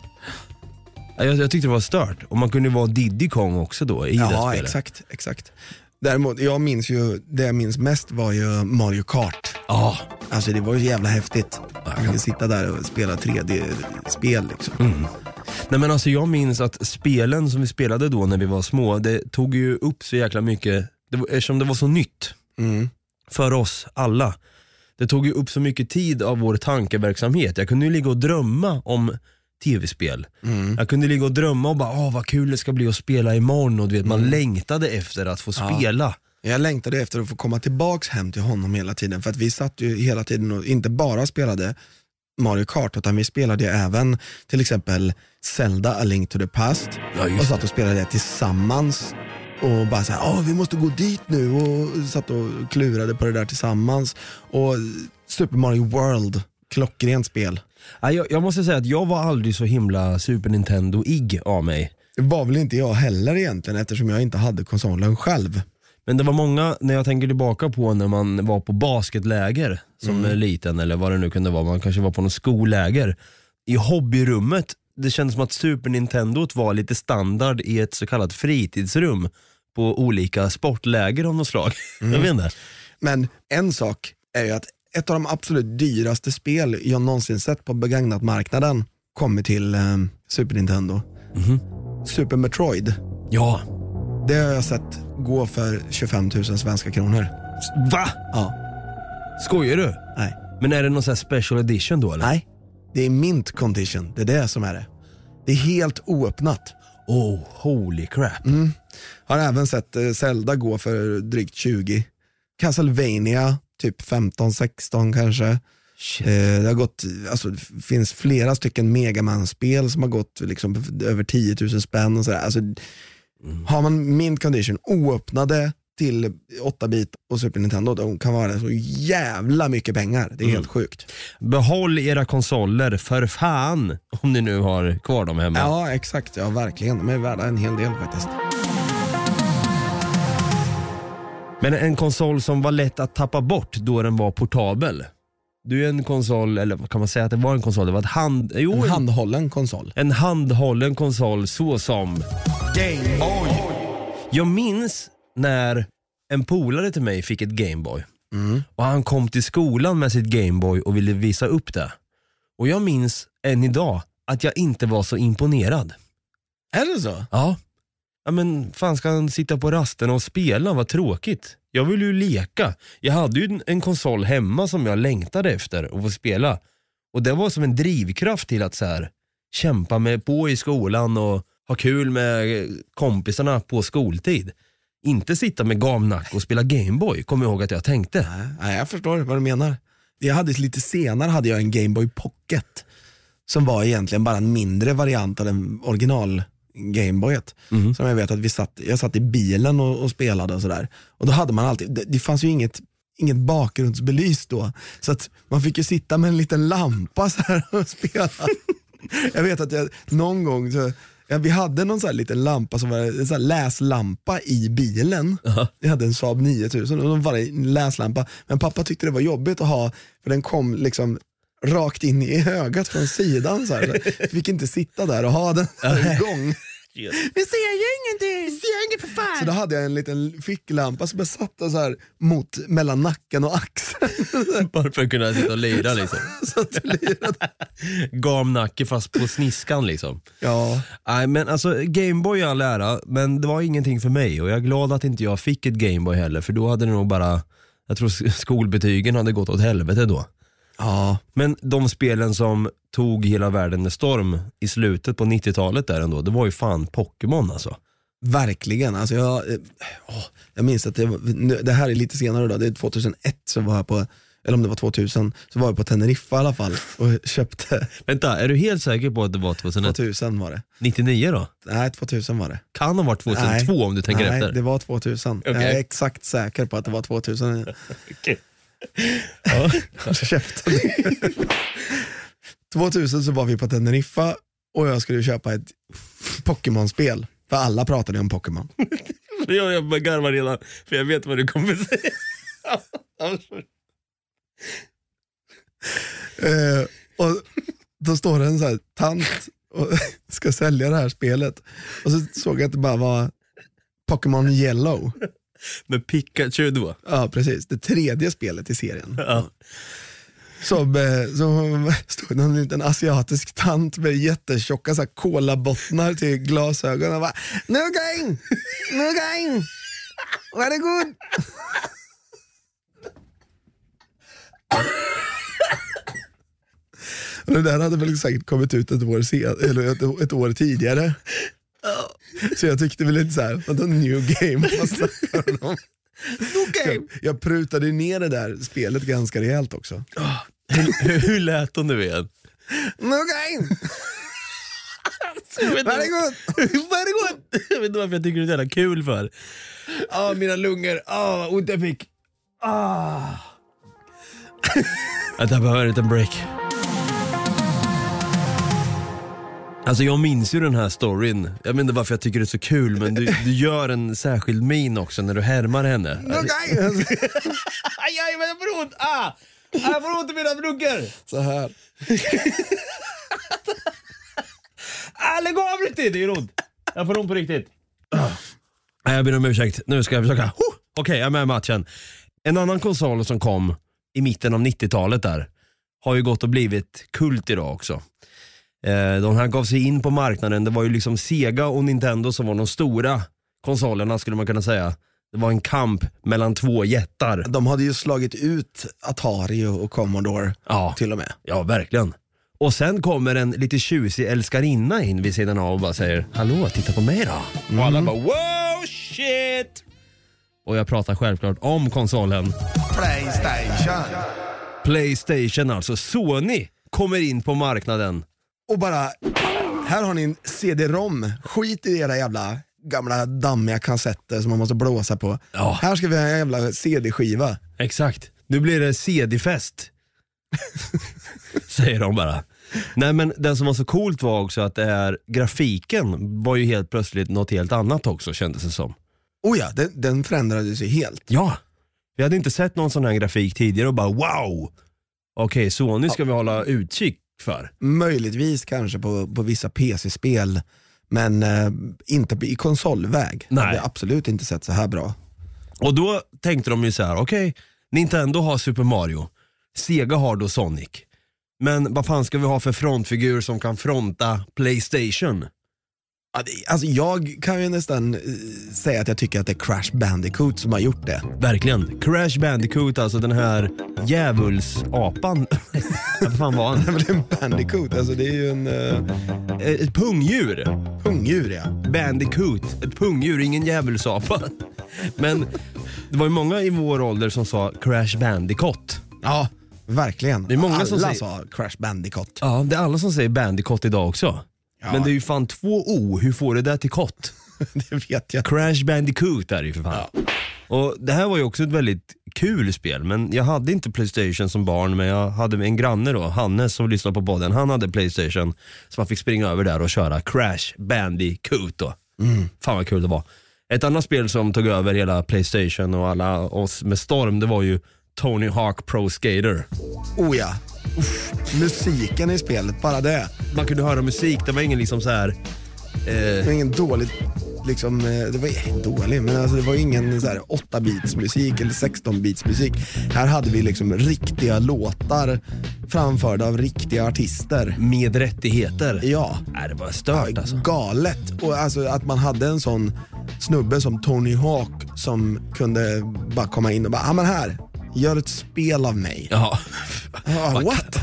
Speaker 2: Ja, Jag, jag tyckte det var stört. Och man kunde ju vara Diddy Kong också då i det här
Speaker 3: Ja,
Speaker 2: spelet.
Speaker 3: exakt, exakt. Däremot, jag minns ju, det jag minns mest var ju Mario Kart.
Speaker 2: Ja,
Speaker 3: Alltså det var ju jävla häftigt. Man kunde sitta där och spela 3D-spel liksom.
Speaker 2: Nej men alltså jag minns att spelen som vi spelade då när vi var små, det tog ju upp så jäkla mycket, det var, eftersom det var så nytt för oss alla. Det tog ju upp så mycket tid av vår tankeverksamhet. Jag kunde ju ligga och drömma om tv-spel. Jag kunde ligga och drömma och bara, åh vad kul det ska bli att spela imorgon och du vet, man längtade efter att få spela.
Speaker 3: Jag längtade efter att få komma tillbaks hem till honom hela tiden. För att vi satt ju hela tiden och inte bara spelade Mario Kart, utan vi spelade ju även till exempel Zelda A Link to the Past.
Speaker 2: Ja, just
Speaker 3: och satt och spelade det tillsammans. och bara så här, "Ah, vi måste gå dit nu och satt och klurade på det där tillsammans. Och Super Mario World, klockrent spel.
Speaker 2: Nej, jag, jag måste säga att jag var aldrig så himla Super Nintendo-igg av mig.
Speaker 3: Det var väl inte jag heller egentligen eftersom jag inte hade konsolen själv.
Speaker 2: Men det var många, när jag tänker tillbaka på när man var på basketläger som
Speaker 3: Mm.
Speaker 2: eh, liten eller vad det nu kunde vara, man kanske var på något skolläger. I hobbyrummet, det kändes som att Super Nintendo var lite standard i ett så kallat fritidsrum på olika sportläger av något slag. Jag
Speaker 3: Mm.
Speaker 2: vet inte.
Speaker 3: Men en sak är ju att ett av de absolut dyraste spel jag någonsin sett på begagnat marknaden kommer till eh, Super Nintendo. Super Metroid.
Speaker 2: Ja.
Speaker 3: Det har jag sett gå för 25 000 svenska kronor.
Speaker 2: Va?
Speaker 3: Ja,
Speaker 2: Skojar du?
Speaker 3: nej.
Speaker 2: Men är det någon sån här special edition då eller?
Speaker 3: Nej, det är mint condition. Det är det som är det. Det är helt oöppnat.
Speaker 2: Oh, holy crap.
Speaker 3: Har även sett eh, Zelda gå för drygt 20. Castlevania typ 15-16 kanske.
Speaker 2: Shit.
Speaker 3: Eh, Det har gått, alltså, det finns flera stycken Megaman-spel som har gått liksom över 10 000 spänn och sådär. Alltså, Har man mint condition, oöppnade till 8-bit och Super Nintendo, de kan vara så jävla mycket pengar. Det är helt sjukt.
Speaker 2: Behåll era konsoler för fan om ni nu har kvar dem hemma.
Speaker 3: Ja, exakt. Ja, verkligen. De är värda en hel del faktiskt.
Speaker 2: Men en konsol som var lätt att tappa bort då den var portabel. Du är en konsol, eller vad kan man säga att det var en konsol? Det var ett hand... Jo,
Speaker 3: En
Speaker 2: en,
Speaker 3: handhållen konsol.
Speaker 2: en handhållen konsol så som...
Speaker 5: Game Boy.
Speaker 2: Jag minns när en polare till mig fick ett Gameboy.
Speaker 3: Mm.
Speaker 2: Och han kom till skolan med sitt Gameboy och ville visa upp det. Och jag minns än idag att jag inte var så imponerad.
Speaker 3: Är det så?
Speaker 2: Ja. Ja men fan ska han sitta på rasten och spela, vad tråkigt. Jag vill ju leka. Jag hade ju en- en konsol hemma som jag längtade efter att få spela. Och det var som en drivkraft till att så här, kämpa med på i skolan och ha kul med kompisarna på skoltid. Inte sitta med gamnack och spela Gameboy, kommer jag ihåg att jag tänkte.
Speaker 3: Nej, jag förstår vad du menar. Jag hade lite senare hade jag en Gameboy Pocket som var egentligen bara en mindre variant av den original Gameboyet. Som jag vet att vi satt, jag satt i bilen och, och spelade och sådär. Och då hade man alltid, det, det fanns ju inget Inget bakgrundsbelyst då, så att man fick ju sitta med en liten lampa så här och spela. jag vet att jag någon gång, så, ja, vi hade någon så här liten lampa som var en så här läslampa i bilen. Vi hade en Saab 9000 och de var en läslampa. Men pappa tyckte det var jobbigt att ha, för den kom liksom rakt in i ögat från sidan. Så här. Så fick inte sitta där och ha den igång. Vi ser ju ingenting! Vi ser inget för fan! Så då hade jag en liten ficklampa som jag satte så här mot, mellan nacken och axeln.
Speaker 2: Bara för att kunna sitta och lira liksom.
Speaker 3: så att det lirade.
Speaker 2: Gamnacke fast på sniskan liksom.
Speaker 3: Ja,
Speaker 2: Nej men alltså Gameboy i all ära, men det var ingenting för mig och jag är glad att inte jag fick ett Gameboy heller för då hade det nog bara, jag tror sk- skolbetygen hade gått åt helvete då.
Speaker 3: ja.
Speaker 2: Men de spelen som tog hela världen med storm i slutet på 90-talet där ändå, det var ju fan Pokémon alltså.
Speaker 3: Verkligen. Alltså jag, eh, åh, jag minns att det, var- nu- det här är lite senare då, det är 2001 så var jag på, eller om det var 2000, så var jag på Teneriffa i alla fall och köpte,
Speaker 2: Vänta, är du helt säker på att det var 2001?
Speaker 3: 2000 var det.
Speaker 2: 99 då?
Speaker 3: Nej 2000 var det.
Speaker 2: Kan ha varit 2002 om du tänker
Speaker 3: Nej,
Speaker 2: efter.
Speaker 3: det var 2000. Jag
Speaker 2: Okej.
Speaker 3: är exakt säker på att det var 2000.
Speaker 2: Ja.
Speaker 3: Käften. 2000 så var vi på Teneriffa och jag skulle köpa ett Pokémon-spel. För alla pratade om Pokémon.
Speaker 2: Jag, jag bara garvar redan, för jag vet vad du kommer säga.
Speaker 3: Eh, och då står det en så här tant och ska sälja det här spelet. Och så såg jag att det bara var Pokémon Yellow.
Speaker 2: Med Pikachu då.
Speaker 3: Ja, precis. Det tredje spelet i serien. Som, eh, som stod någon liten asiatisk tant med jättetjocka så här kolabottnar till glasögon och bara Nu går in! Nu går in! Varsågod! Och Det där hade väl säkert kommit ut ett år, sen, eller ett, ett år tidigare. Så jag tyckte väl lite såhär, vadå new game? Vad snackar de om? Jag, jag prutade ju ner det där spelet ganska rejält också.
Speaker 2: Hur, hur lät hon nu igen?
Speaker 3: Nu går jag in!
Speaker 6: Jag vet inte-
Speaker 3: Varsågod.
Speaker 6: Varsågod! Jag vet inte varför jag tycker det är så jävla kul för. Ah, mina lungor. Ah, vad ont jag fick. Ah.
Speaker 2: Att jag behöver en liten break. Alltså jag minns ju den här storyn. Jag vet inte varför jag tycker det är så kul men du, du gör en särskild min också när du härmar henne.
Speaker 3: Okej. Alltså,
Speaker 6: Aj, aj, men jag får ont. Ah. Jag får ont i mina lungor.
Speaker 3: Så här.
Speaker 6: Ah, lägg av lite. Det gör ont. Jag får ont på riktigt.
Speaker 2: Nej, jag ber om ursäkt. Nu ska jag försöka. Huh! Okej, jag är med i matchen. En annan konsol som kom i mitten av 90-talet där har ju gått och blivit kult idag också. Eh, De här gav sig in på marknaden. Det var ju liksom Sega och Nintendo som var de stora konsolerna skulle man kunna säga. Det var en kamp mellan två jättar.
Speaker 3: De hade ju slagit ut Atari och Commodore
Speaker 2: Ja,
Speaker 3: till och med.
Speaker 2: ja verkligen. Och sen kommer en lite tjusig älskarinna in vid sidan av och bara säger “Hallå, titta på mig då”. Och alla bara “Wow, shit!” Och jag pratar självklart om konsolen.
Speaker 5: Playstation.
Speaker 2: Playstation alltså. Sony kommer in på marknaden.
Speaker 3: och bara, här har ni en CD-ROM, skit i era jävla gamla dammiga kassetter som man måste blåsa på.
Speaker 2: Ja.
Speaker 3: Här ska vi ha en jävla CD-skiva.
Speaker 2: Exakt. Nu blir det CD-fest. Säger de bara. Nej men den som var så coolt var också att det är, grafiken var ju helt plötsligt något helt annat också kändes det som.
Speaker 3: Oh ja, den, den förändrades ju helt.
Speaker 2: Ja. Vi hade inte sett någon sån här grafik tidigare och bara wow. Okej, Sony ska vi hålla utkik för.
Speaker 3: Möjligtvis kanske på, på vissa PC-spel, men eh, inte på- i konsolväg.
Speaker 2: Nej.
Speaker 3: Hade absolut inte sett så här bra.
Speaker 2: Och då tänkte de ju så här: okej, Nintendo har Super Mario, Sega har då Sonic. Men vad fan ska vi ha för frontfigur som kan fronta Playstation?
Speaker 3: Ja, det- Alltså jag kan ju nästan eh, säga att jag tycker att det är Crash Bandicoot som har gjort det.
Speaker 2: Verkligen. Crash Bandicoot, alltså den här djävulsapan. vad fan var han?
Speaker 3: Men det är en Bandicoot, alltså det är ju en uh,
Speaker 2: Eh, Ett pungdjur.
Speaker 3: pungdjur ja.
Speaker 2: Bandicoot, ett pungdjur, ingen djävulsapa. Men det var ju många i vår ålder som sa Crash Bandicoot.
Speaker 3: Ja, verkligen.
Speaker 2: Det är många
Speaker 3: Alla
Speaker 2: som säger-
Speaker 3: sa Crash Bandicoot.
Speaker 2: Ja, det är alla som säger Bandicoot idag också. Men det är ju fan två O, hur får du det till kott?
Speaker 3: det vet jag.
Speaker 2: Crash Bandicoot är det ju för fan. Och det här var ju också ett väldigt kul spel, men jag hade inte Playstation som barn, men jag hade en granne då, Hannes som lyssnade på podden, han hade Playstation. Så man fick springa över där och köra Crash Bandicoot då. Fan vad kul det var. Ett annat spel som tog över hela Playstation och alla oss med storm, det var ju Tony Hawk Pro Skater.
Speaker 3: Oh ja. Uff, musiken i spelet, bara det.
Speaker 2: Man kunde höra musik, det var ingen liksom så här
Speaker 3: Det
Speaker 2: Eh.
Speaker 3: var ingen dålig, liksom, eh, det var eh, dålig, men alltså det var ingen så här 8-bits musik eller 16-bits musik. Här hade vi liksom riktiga låtar framförda av riktiga artister.
Speaker 2: med rättigheter.
Speaker 3: Ja.
Speaker 2: Nej, det var stört alltså.
Speaker 3: Galet. Och alltså att man hade en sån snubbe som Tony Hawk som kunde bara komma in och bara, ja men här, gör ett spel av mig.
Speaker 2: Ja.
Speaker 3: Ah, what?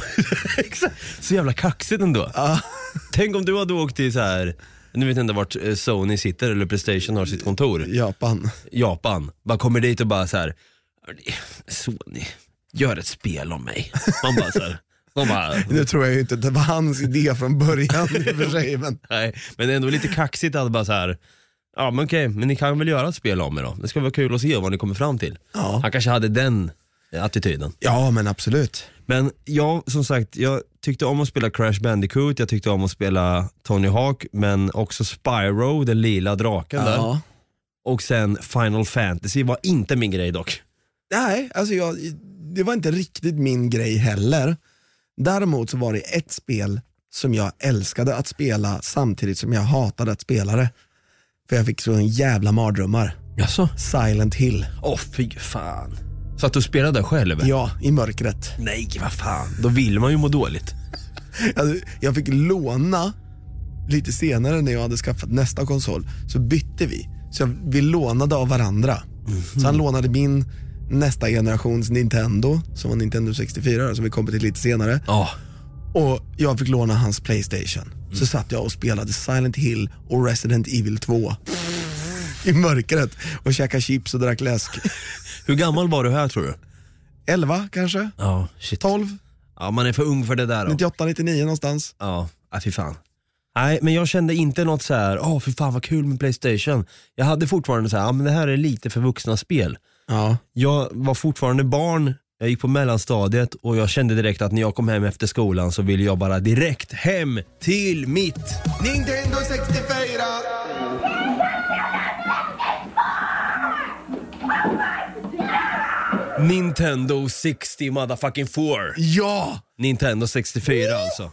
Speaker 2: Exakt. Så jävla kaxigt ändå. Tänk om du hade åkt till så här. Nu vet jag inte vart eh, Sony sitter eller Playstation har sitt kontor.
Speaker 3: Japan.
Speaker 2: Japan. Bara kommer dit och bara så här. "Hörni, Sony, gör ett spel om mig. Man bara så här. De bara,
Speaker 3: Nu tror jag ju inte att det var hans idé från början i och för sig. Men
Speaker 2: nej. Men det är ändå lite kaxigt att bara så här. Ja men okej, men ni kan väl göra ett spel om mig då? Det ska vara kul att se vad ni kommer fram till.
Speaker 3: Ja.
Speaker 2: Han kanske hade den eh, attityden.
Speaker 3: Ja men absolut.
Speaker 2: Men jag, som sagt, jag tyckte om att spela Crash Bandicoot, jag tyckte om att spela Tony Hawk, men också Spyro, den lila draken där.
Speaker 3: Ja.
Speaker 2: Och sen Final Fantasy var inte min grej dock.
Speaker 3: Nej, alltså jag, det var inte riktigt min grej heller. Däremot så var det ett spel som jag älskade att spela samtidigt som jag hatade att spela det. För jag fick sån jävla mardrömmar.
Speaker 2: Jaså?
Speaker 3: Silent Hill.
Speaker 2: Åh fy fan. Så att du spelade själv?
Speaker 3: Ja, i mörkret.
Speaker 2: Nej, vad fan. Då vill man ju må dåligt.
Speaker 3: Alltså, jag fick låna lite senare när jag hade skaffat nästa konsol, så bytte vi. Så jag, vi lånade av varandra. Så han lånade min nästa generations Nintendo, som var Nintendo 64 då, som vi kommer till lite senare.
Speaker 2: Ja.
Speaker 3: Och jag fick låna hans Playstation. Så satt jag och spelade Silent Hill och Resident Evil 2 i mörkret och käkade chips och drack läsk.
Speaker 2: Hur gammal var du här tror du?
Speaker 3: 11 kanske?
Speaker 2: Ja, shit.
Speaker 3: 12?
Speaker 2: Ja, man är för ung för det där. Då.
Speaker 3: 98, 99 någonstans.
Speaker 2: Ja, ah, fy fan. Nej, men jag kände inte något så här, åh för fan vad kul med Playstation. Jag hade fortfarande så här, ja men det här är lite för vuxna spel.
Speaker 3: Ja.
Speaker 2: Jag var fortfarande barn, jag gick på mellanstadiet och jag kände direkt att när jag kom hem efter skolan så ville jag bara direkt hem till mitt.
Speaker 5: Nintendo 64!
Speaker 2: Nintendo 60 motherfucking 4.
Speaker 3: ja!
Speaker 2: Nintendo 64 alltså.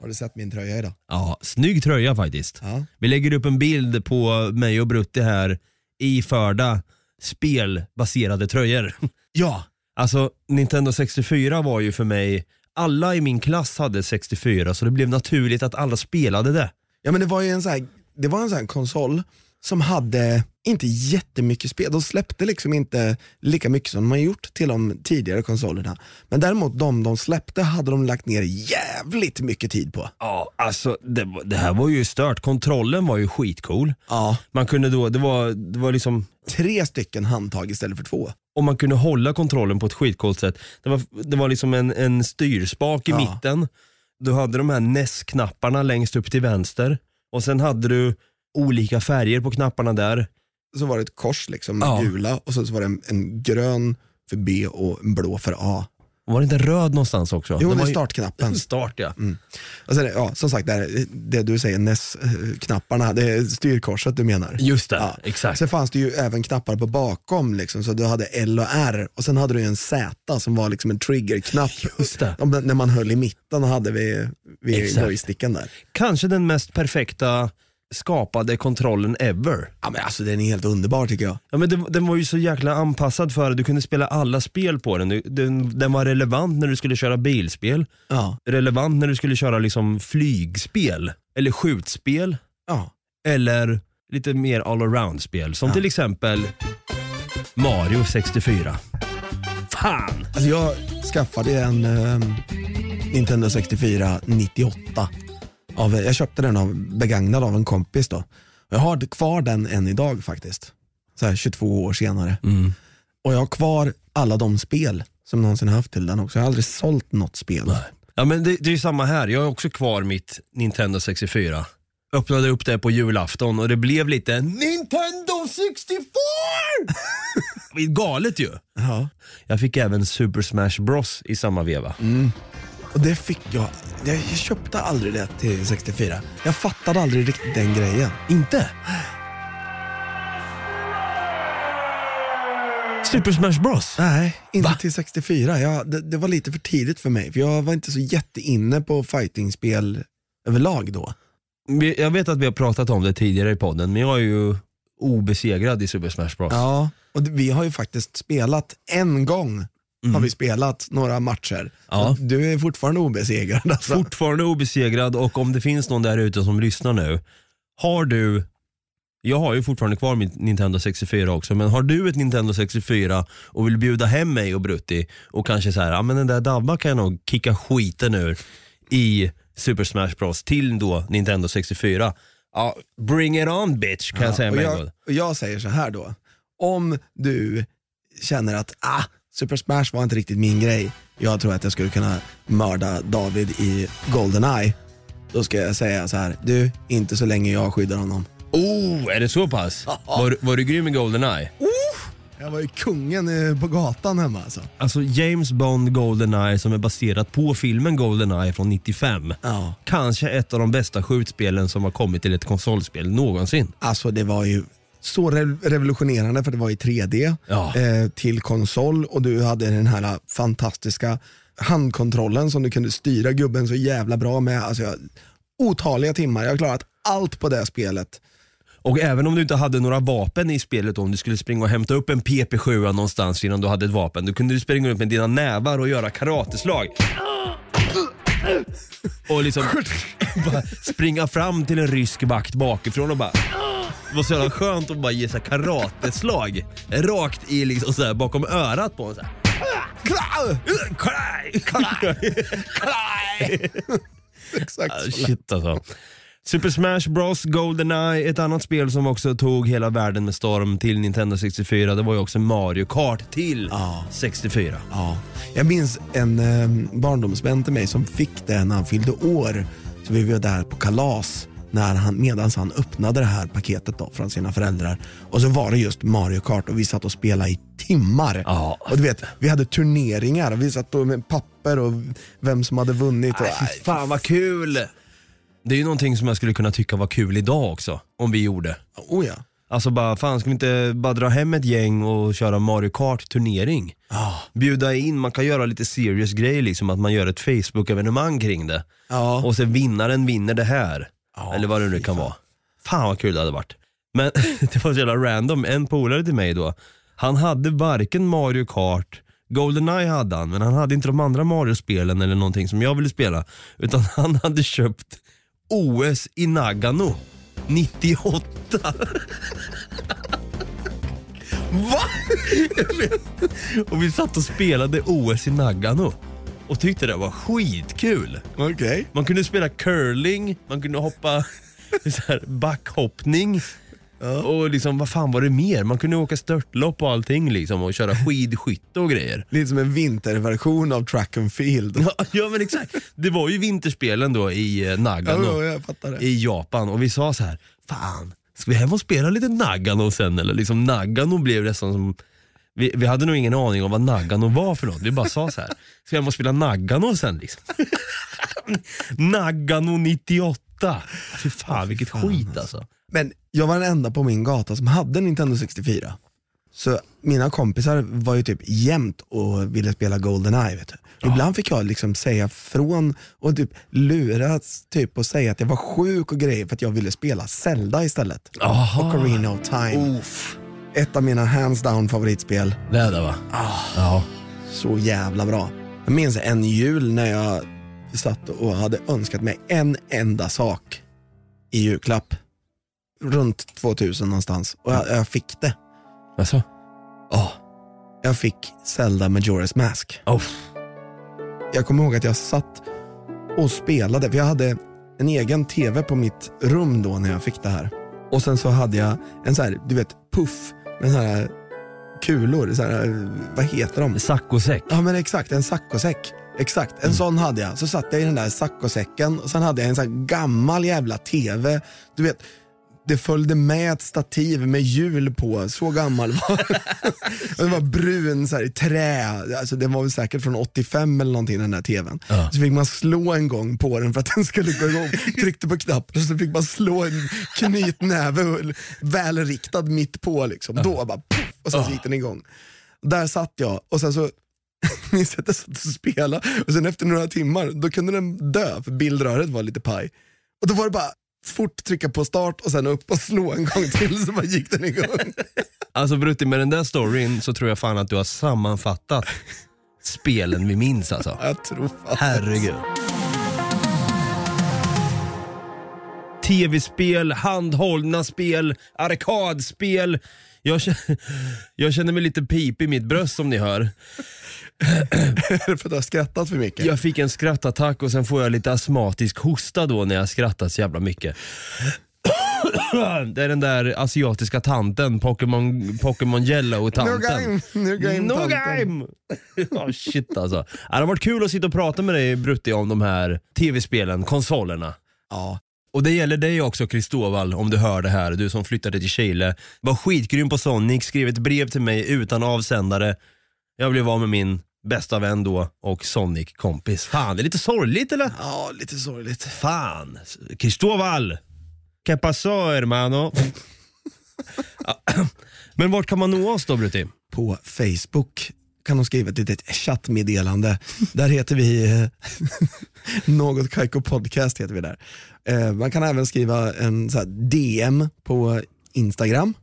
Speaker 3: Har du sett min tröja idag?
Speaker 2: Ja, snygg tröja faktiskt.
Speaker 3: Ja.
Speaker 2: Vi lägger upp en bild på mig och Brutti här iförda spelbaserade tröjor.
Speaker 3: Ja.
Speaker 2: Alltså Nintendo 64 var ju för mig, alla i min klass hade 64 så det blev naturligt att alla spelade det.
Speaker 3: Ja men det var ju en sån här, det var en sån här konsol som hade inte jättemycket spel. De släppte liksom inte lika mycket som de har gjort till de tidigare konsolerna. Men däremot de de släppte hade de lagt ner jävligt mycket tid på.
Speaker 2: Ja, alltså det, var- det här var ju stört. Kontrollen var ju skitcool.
Speaker 3: Ja.
Speaker 2: Man kunde då, det var, det var liksom,
Speaker 3: Tre stycken handtag istället för två.
Speaker 2: och man kunde hålla kontrollen på ett skitcoolt sätt. Det var, det var liksom en, en styrspak i
Speaker 3: Ja.
Speaker 2: mitten. Du hade de här NES-knapparna längst upp till vänster. Och sen hade du olika färger på knapparna där.
Speaker 3: Så var det ett kors liksom med
Speaker 2: Ja.
Speaker 3: gula och så, så var det en, en grön för B och en blå för A.
Speaker 2: Var det inte röd någonstans också?
Speaker 3: Jo,
Speaker 2: Den
Speaker 3: det Mm.
Speaker 2: var
Speaker 3: är
Speaker 2: ju-
Speaker 3: startknappen.
Speaker 2: Start ja.
Speaker 3: Och sen, ja, som sagt, det, här, det du säger, NES-knapparna, det är styrkorset du menar.
Speaker 2: Just det,
Speaker 3: Ja.
Speaker 2: exakt.
Speaker 3: Sen fanns det ju även knappar på bakom, liksom, så du hade L och R och sen hade du ju en Z som var liksom en triggerknapp.
Speaker 2: Just det.
Speaker 3: Om den- När man höll i mitten hade vi, vi
Speaker 2: Exakt.
Speaker 3: joysticken där.
Speaker 2: Kanske den mest perfekta skapade kontrollen ever.
Speaker 3: Ja, men alltså, den är helt underbar tycker jag.
Speaker 2: Ja, men den, den var ju så jäkla anpassad för det. Du kunde spela alla spel på den. Du- den. Den var relevant när du skulle köra bilspel,
Speaker 3: Ja.
Speaker 2: relevant när du skulle köra liksom flygspel, eller skjutspel,
Speaker 3: Ja.
Speaker 2: eller lite mer allround-spel. Som till exempel Mario 64. Fan!
Speaker 3: Alltså, jag skaffade en eh, Nintendo 64 98. Av, jag köpte den av, begagnad av en kompis då. Jag har kvar den än idag faktiskt. Så här 22 år senare. Och jag har kvar alla de spel som jag någonsin haft till den också. Jag har aldrig sålt något spel.
Speaker 2: Ja men det, det är ju samma här, jag har också kvar mitt Nintendo 64. Öppnade upp det på julafton och det blev lite Nintendo 64! Det är Galet ju.
Speaker 3: Ja.
Speaker 2: Jag fick även Super Smash Bros i samma veva.
Speaker 3: Och det fick jag. Jag jag köpte aldrig det till 64. Jag fattade aldrig riktigt den grejen.
Speaker 2: Inte? Super Smash Bros?
Speaker 3: Nej, inte
Speaker 2: Va?
Speaker 3: till 64. Jag, det, det var lite för tidigt för mig. För jag var inte så jätteinne på fightingspel överlag då.
Speaker 2: Vi- Jag vet att vi har pratat om det tidigare i podden, men jag är ju obesegrad i Super Smash Bros.
Speaker 3: Ja, och d- vi har ju faktiskt spelat en gång har vi spelat några matcher.
Speaker 2: Mm. Ja.
Speaker 3: Så Du är fortfarande obesegrad. Alltså.
Speaker 2: Fortfarande obesegrad och om det finns någon där ute som lyssnar nu. Har du, jag har ju fortfarande kvar mitt Nintendo 64 också, men har du ett Nintendo 64 och vill bjuda hem mig och Brutti och kanske så här, ja men den där Dabba kan jag nog kicka skiten ur i Super Smash Bros till då Nintendo 64. Ja, bring it on bitch kan jag säga
Speaker 3: och,
Speaker 2: med
Speaker 3: jag,
Speaker 2: en gång.
Speaker 3: och jag säger så här då. Om du känner att ah, Super Smash var inte riktigt min grej. Jag tror att jag skulle kunna mörda David i Goldeneye. Då ska jag säga så här. Du, inte så länge jag skyddar honom.
Speaker 2: Oh, är det så pass? Var, du- var du grym i Goldeneye?
Speaker 3: Jag var ju kungen eh, på gatan hemma alltså.
Speaker 2: Alltså James Bond Goldeneye som är baserat på filmen Goldeneye från 95.
Speaker 3: Ja.
Speaker 2: Kanske ett av de bästa skjutspelen som har kommit till ett konsolspel någonsin.
Speaker 3: Alltså det var ju så re- revolutionerande för det var i 3D
Speaker 2: Ja.
Speaker 3: eh, till konsol och du hade den här eh, fantastiska handkontrollen som du kunde styra gubben så jävla bra med. Alltså, jag, otaliga timmar, jag har klarat allt på det spelet.
Speaker 2: Och även om du inte hade några vapen i spelet, om du skulle springa och hämta upp en PP7 någonstans innan du hade ett vapen, då kunde du springa upp med dina nävar och göra karateslag. Och liksom bara springa fram till en rysk vakt bakifrån och bara... Det var så jävla skönt att bara ge så här karateslag rakt i liksom så här bakom örat på honom. så här.
Speaker 3: Exakt
Speaker 2: Ah,
Speaker 3: så.
Speaker 2: Shit alltså. Super Smash Bros, Goldeneye, ett annat spel som också tog hela världen med storm till Nintendo 64, det var ju också Mario Kart till 64.
Speaker 3: ehm, Ja. Jag minns en eh, barndomsvän till mig som fick det när han fyllde år Så vi var där på kalas när han, medans han öppnade det här paketet då från sina föräldrar. Och så var det just Mario Kart och vi satt och spelade i timmar.
Speaker 2: Ja.
Speaker 3: Och du vet, vi hade turneringar och vi satt då med papper och vem som hade vunnit. Och,
Speaker 2: Nej, fy fan vad kul! Det är ju någonting som jag skulle kunna tycka var kul idag också, om vi gjorde.
Speaker 3: aj, oh ja.
Speaker 2: Alltså bara, fan ska vi inte bara dra hem ett gäng och köra Mario Kart turnering? Bjuda in, man kan göra lite serious grejer liksom, att man gör ett Facebook-evenemang kring det.
Speaker 3: Ja.
Speaker 2: Och sen vinnaren vinner det här.
Speaker 3: Ja,
Speaker 2: Eller vad det nu
Speaker 3: fy
Speaker 2: kan
Speaker 3: fan.
Speaker 2: vara. Fan vad kul det hade varit. Men det var så jävla random, en polare till mig då, han hade varken Mario Kart, Goldeneye hade han, men han hade inte de andra Mario-spelen eller någonting som jag ville spela. Utan han hade köpt OS i Nagano 98. Va? och vi satt och spelade OS i Nagano och tyckte det var skitkul.
Speaker 3: Okej.
Speaker 2: Man kunde spela curling, man kunde hoppa så här, backhoppning. Och liksom, vad fan var det mer? Man kunde åka störtlopp och allting liksom och köra skidskytte och grejer.
Speaker 3: Lite som en vinterversion av track and field.
Speaker 2: Ja, Ja men exakt. Det var ju vinterspelen då i eh, Nagano
Speaker 3: Ja, jag fattar det.
Speaker 2: i Japan och vi sa så här, fan, ska vi hem och spela lite Nagano sen eller? Liksom Nagano blev nästan som, vi, vi hade nog ingen aning om vad Nagano var för något. Vi bara sa så här, ska vi hem och spela Nagano sen liksom? Nagano 98. Fy fan vilket skit alltså.
Speaker 3: Men jag var den enda på min gata som hade en Nintendo 64. Så mina kompisar var ju typ jämt och ville spela Goldeneye. Vet du. Ibland fick jag liksom säga från och typ luras typ och säga att jag var sjuk och grejer för att jag ville spela Zelda istället.
Speaker 2: Aha.
Speaker 3: Och Carina of Time. Ett av mina hands down favoritspel.
Speaker 2: Det där va? Ja.
Speaker 3: Så jävla bra. Jag minns en jul när jag satt och hade önskat mig en enda sak i julklapp. Runt 2000 någonstans. Och jag, jag fick det.
Speaker 2: Alltså?
Speaker 3: Ja. Jag fick Zelda Majora's Mask.
Speaker 2: Oh.
Speaker 3: Jag kommer ihåg att jag satt och spelade, för jag hade en egen TV på mitt rum då när jag fick det här. Och sen så hade jag en så här, du vet, puff med så här kulor, så här, vad heter de?
Speaker 2: Saccosäck.
Speaker 3: Ja men exakt, en saccosäck. Exakt, en sån hade jag. Så satt jag i den där saccosäcken och sen hade jag en sån här gammal jävla TV. Du vet, det följde med ett stativ med hjul på, så gammal var den. Och Den var brun så här, i trä, alltså, den var väl säkert från 85 eller någonting den där TVn. Så fick man slå en gång på den för att den skulle gå igång. Tryckte på knappen och så fick man slå en knytnäve och- välriktad mitt på liksom. Då bara puff, och sen så gick den igång. Där satt jag och sen så minns jag att jag satt och spelade och sen efter några timmar då kunde den dö för bildröret var lite paj. Och då var det bara fort trycka på start och sen upp och slå en gång till så bara gick den igång.
Speaker 2: Alltså Brutti, med den där storyn så tror jag fan att du har sammanfattat spelen vi minns alltså.
Speaker 3: Jag tror fan.
Speaker 2: Herregud. Tv-spel, handhållna spel, arkadspel. Jag känner, jag känner mig lite pip i mitt bröst som ni hör.
Speaker 3: Är det för att du har skrattat för mycket?
Speaker 2: Jag fick en skrattattack och sen får jag lite astmatisk hosta då när jag skrattat så jävla mycket. Det är den där asiatiska tanten, Pokémon, Pokémon Yellow-tanten.
Speaker 3: Nogaim, Nogaim-tanten.
Speaker 2: Nogaim! Ja, shit alltså. Ja, Det har varit kul att sitta och prata med dig Brutti om de här tv-spelen, konsolerna.
Speaker 3: Ja.
Speaker 2: Och det gäller dig också Kristoval, om du hör det här, du som flyttade till Chile. Var skitgrym på Sonic, skrev ett brev till mig utan avsändare. Jag blev av med min bästa vän då och Sonic-kompis. Fan, det är lite sorgligt eller?
Speaker 3: ja, lite sorgligt.
Speaker 2: Fan, Kristoval! Que pasó hermano? Ja, Men vart kan man nå oss då Brutti?
Speaker 3: På Facebook kan de skriva ett litet chattmeddelande. Där heter vi eh, Något Kaiko Podcast. heter vi där. Eh, Man kan även skriva en så här DM på Instagram.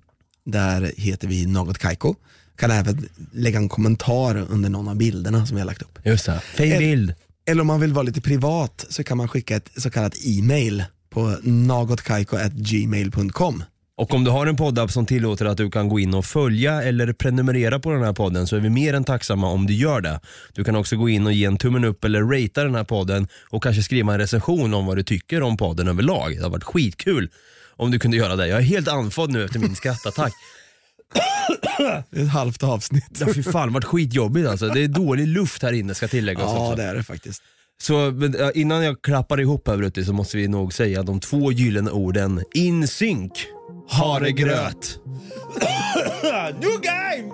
Speaker 3: Där heter vi Något Kaiko. Kan även lägga en kommentar under någon av bilderna som vi har lagt upp.
Speaker 2: Just det, fin bild.
Speaker 3: Eller om man vill vara lite privat så kan man skicka ett så kallat e-mail på nagotkaiko.gmail.com.
Speaker 2: Och om du har en poddapp som tillåter att du kan gå in och följa eller prenumerera på den här podden så är vi mer än tacksamma om du gör det. Du kan också gå in och ge en tummen upp eller ratea den här podden och kanske skriva en recension om vad du tycker om podden överlag. Det har varit skitkul om du kunde göra det. Jag är helt andfådd nu efter min skrattattack.
Speaker 3: Det är ett halvt avsnitt.
Speaker 2: Ja, fy fan, det har varit skitjobbigt alltså. Det är dålig luft här inne ska tilläggas också.
Speaker 3: Ja det är det faktiskt.
Speaker 2: Så men, eh, innan jag klappar ihop här Brutti så måste vi nog säga de två gyllene orden in sync, haregröt.
Speaker 6: New game!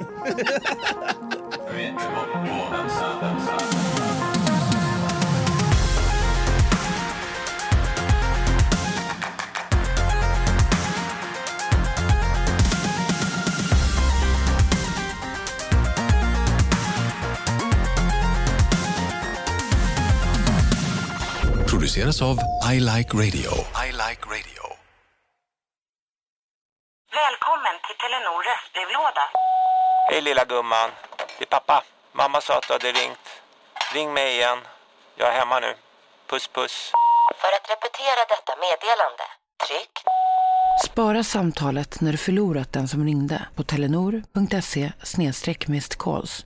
Speaker 1: Produceras av I Like Radio. I like radio.
Speaker 4: Välkommen till Telenor röstbrevlåda.
Speaker 7: Hej lilla gumman. Det är pappa. Mamma sa att du hade ringt. Ring mig igen. Jag är hemma nu. Puss puss.
Speaker 8: För att repetera detta meddelande, tryck
Speaker 9: Spara samtalet när du förlorat den som ringde på telenor.se snedstreck missed calls.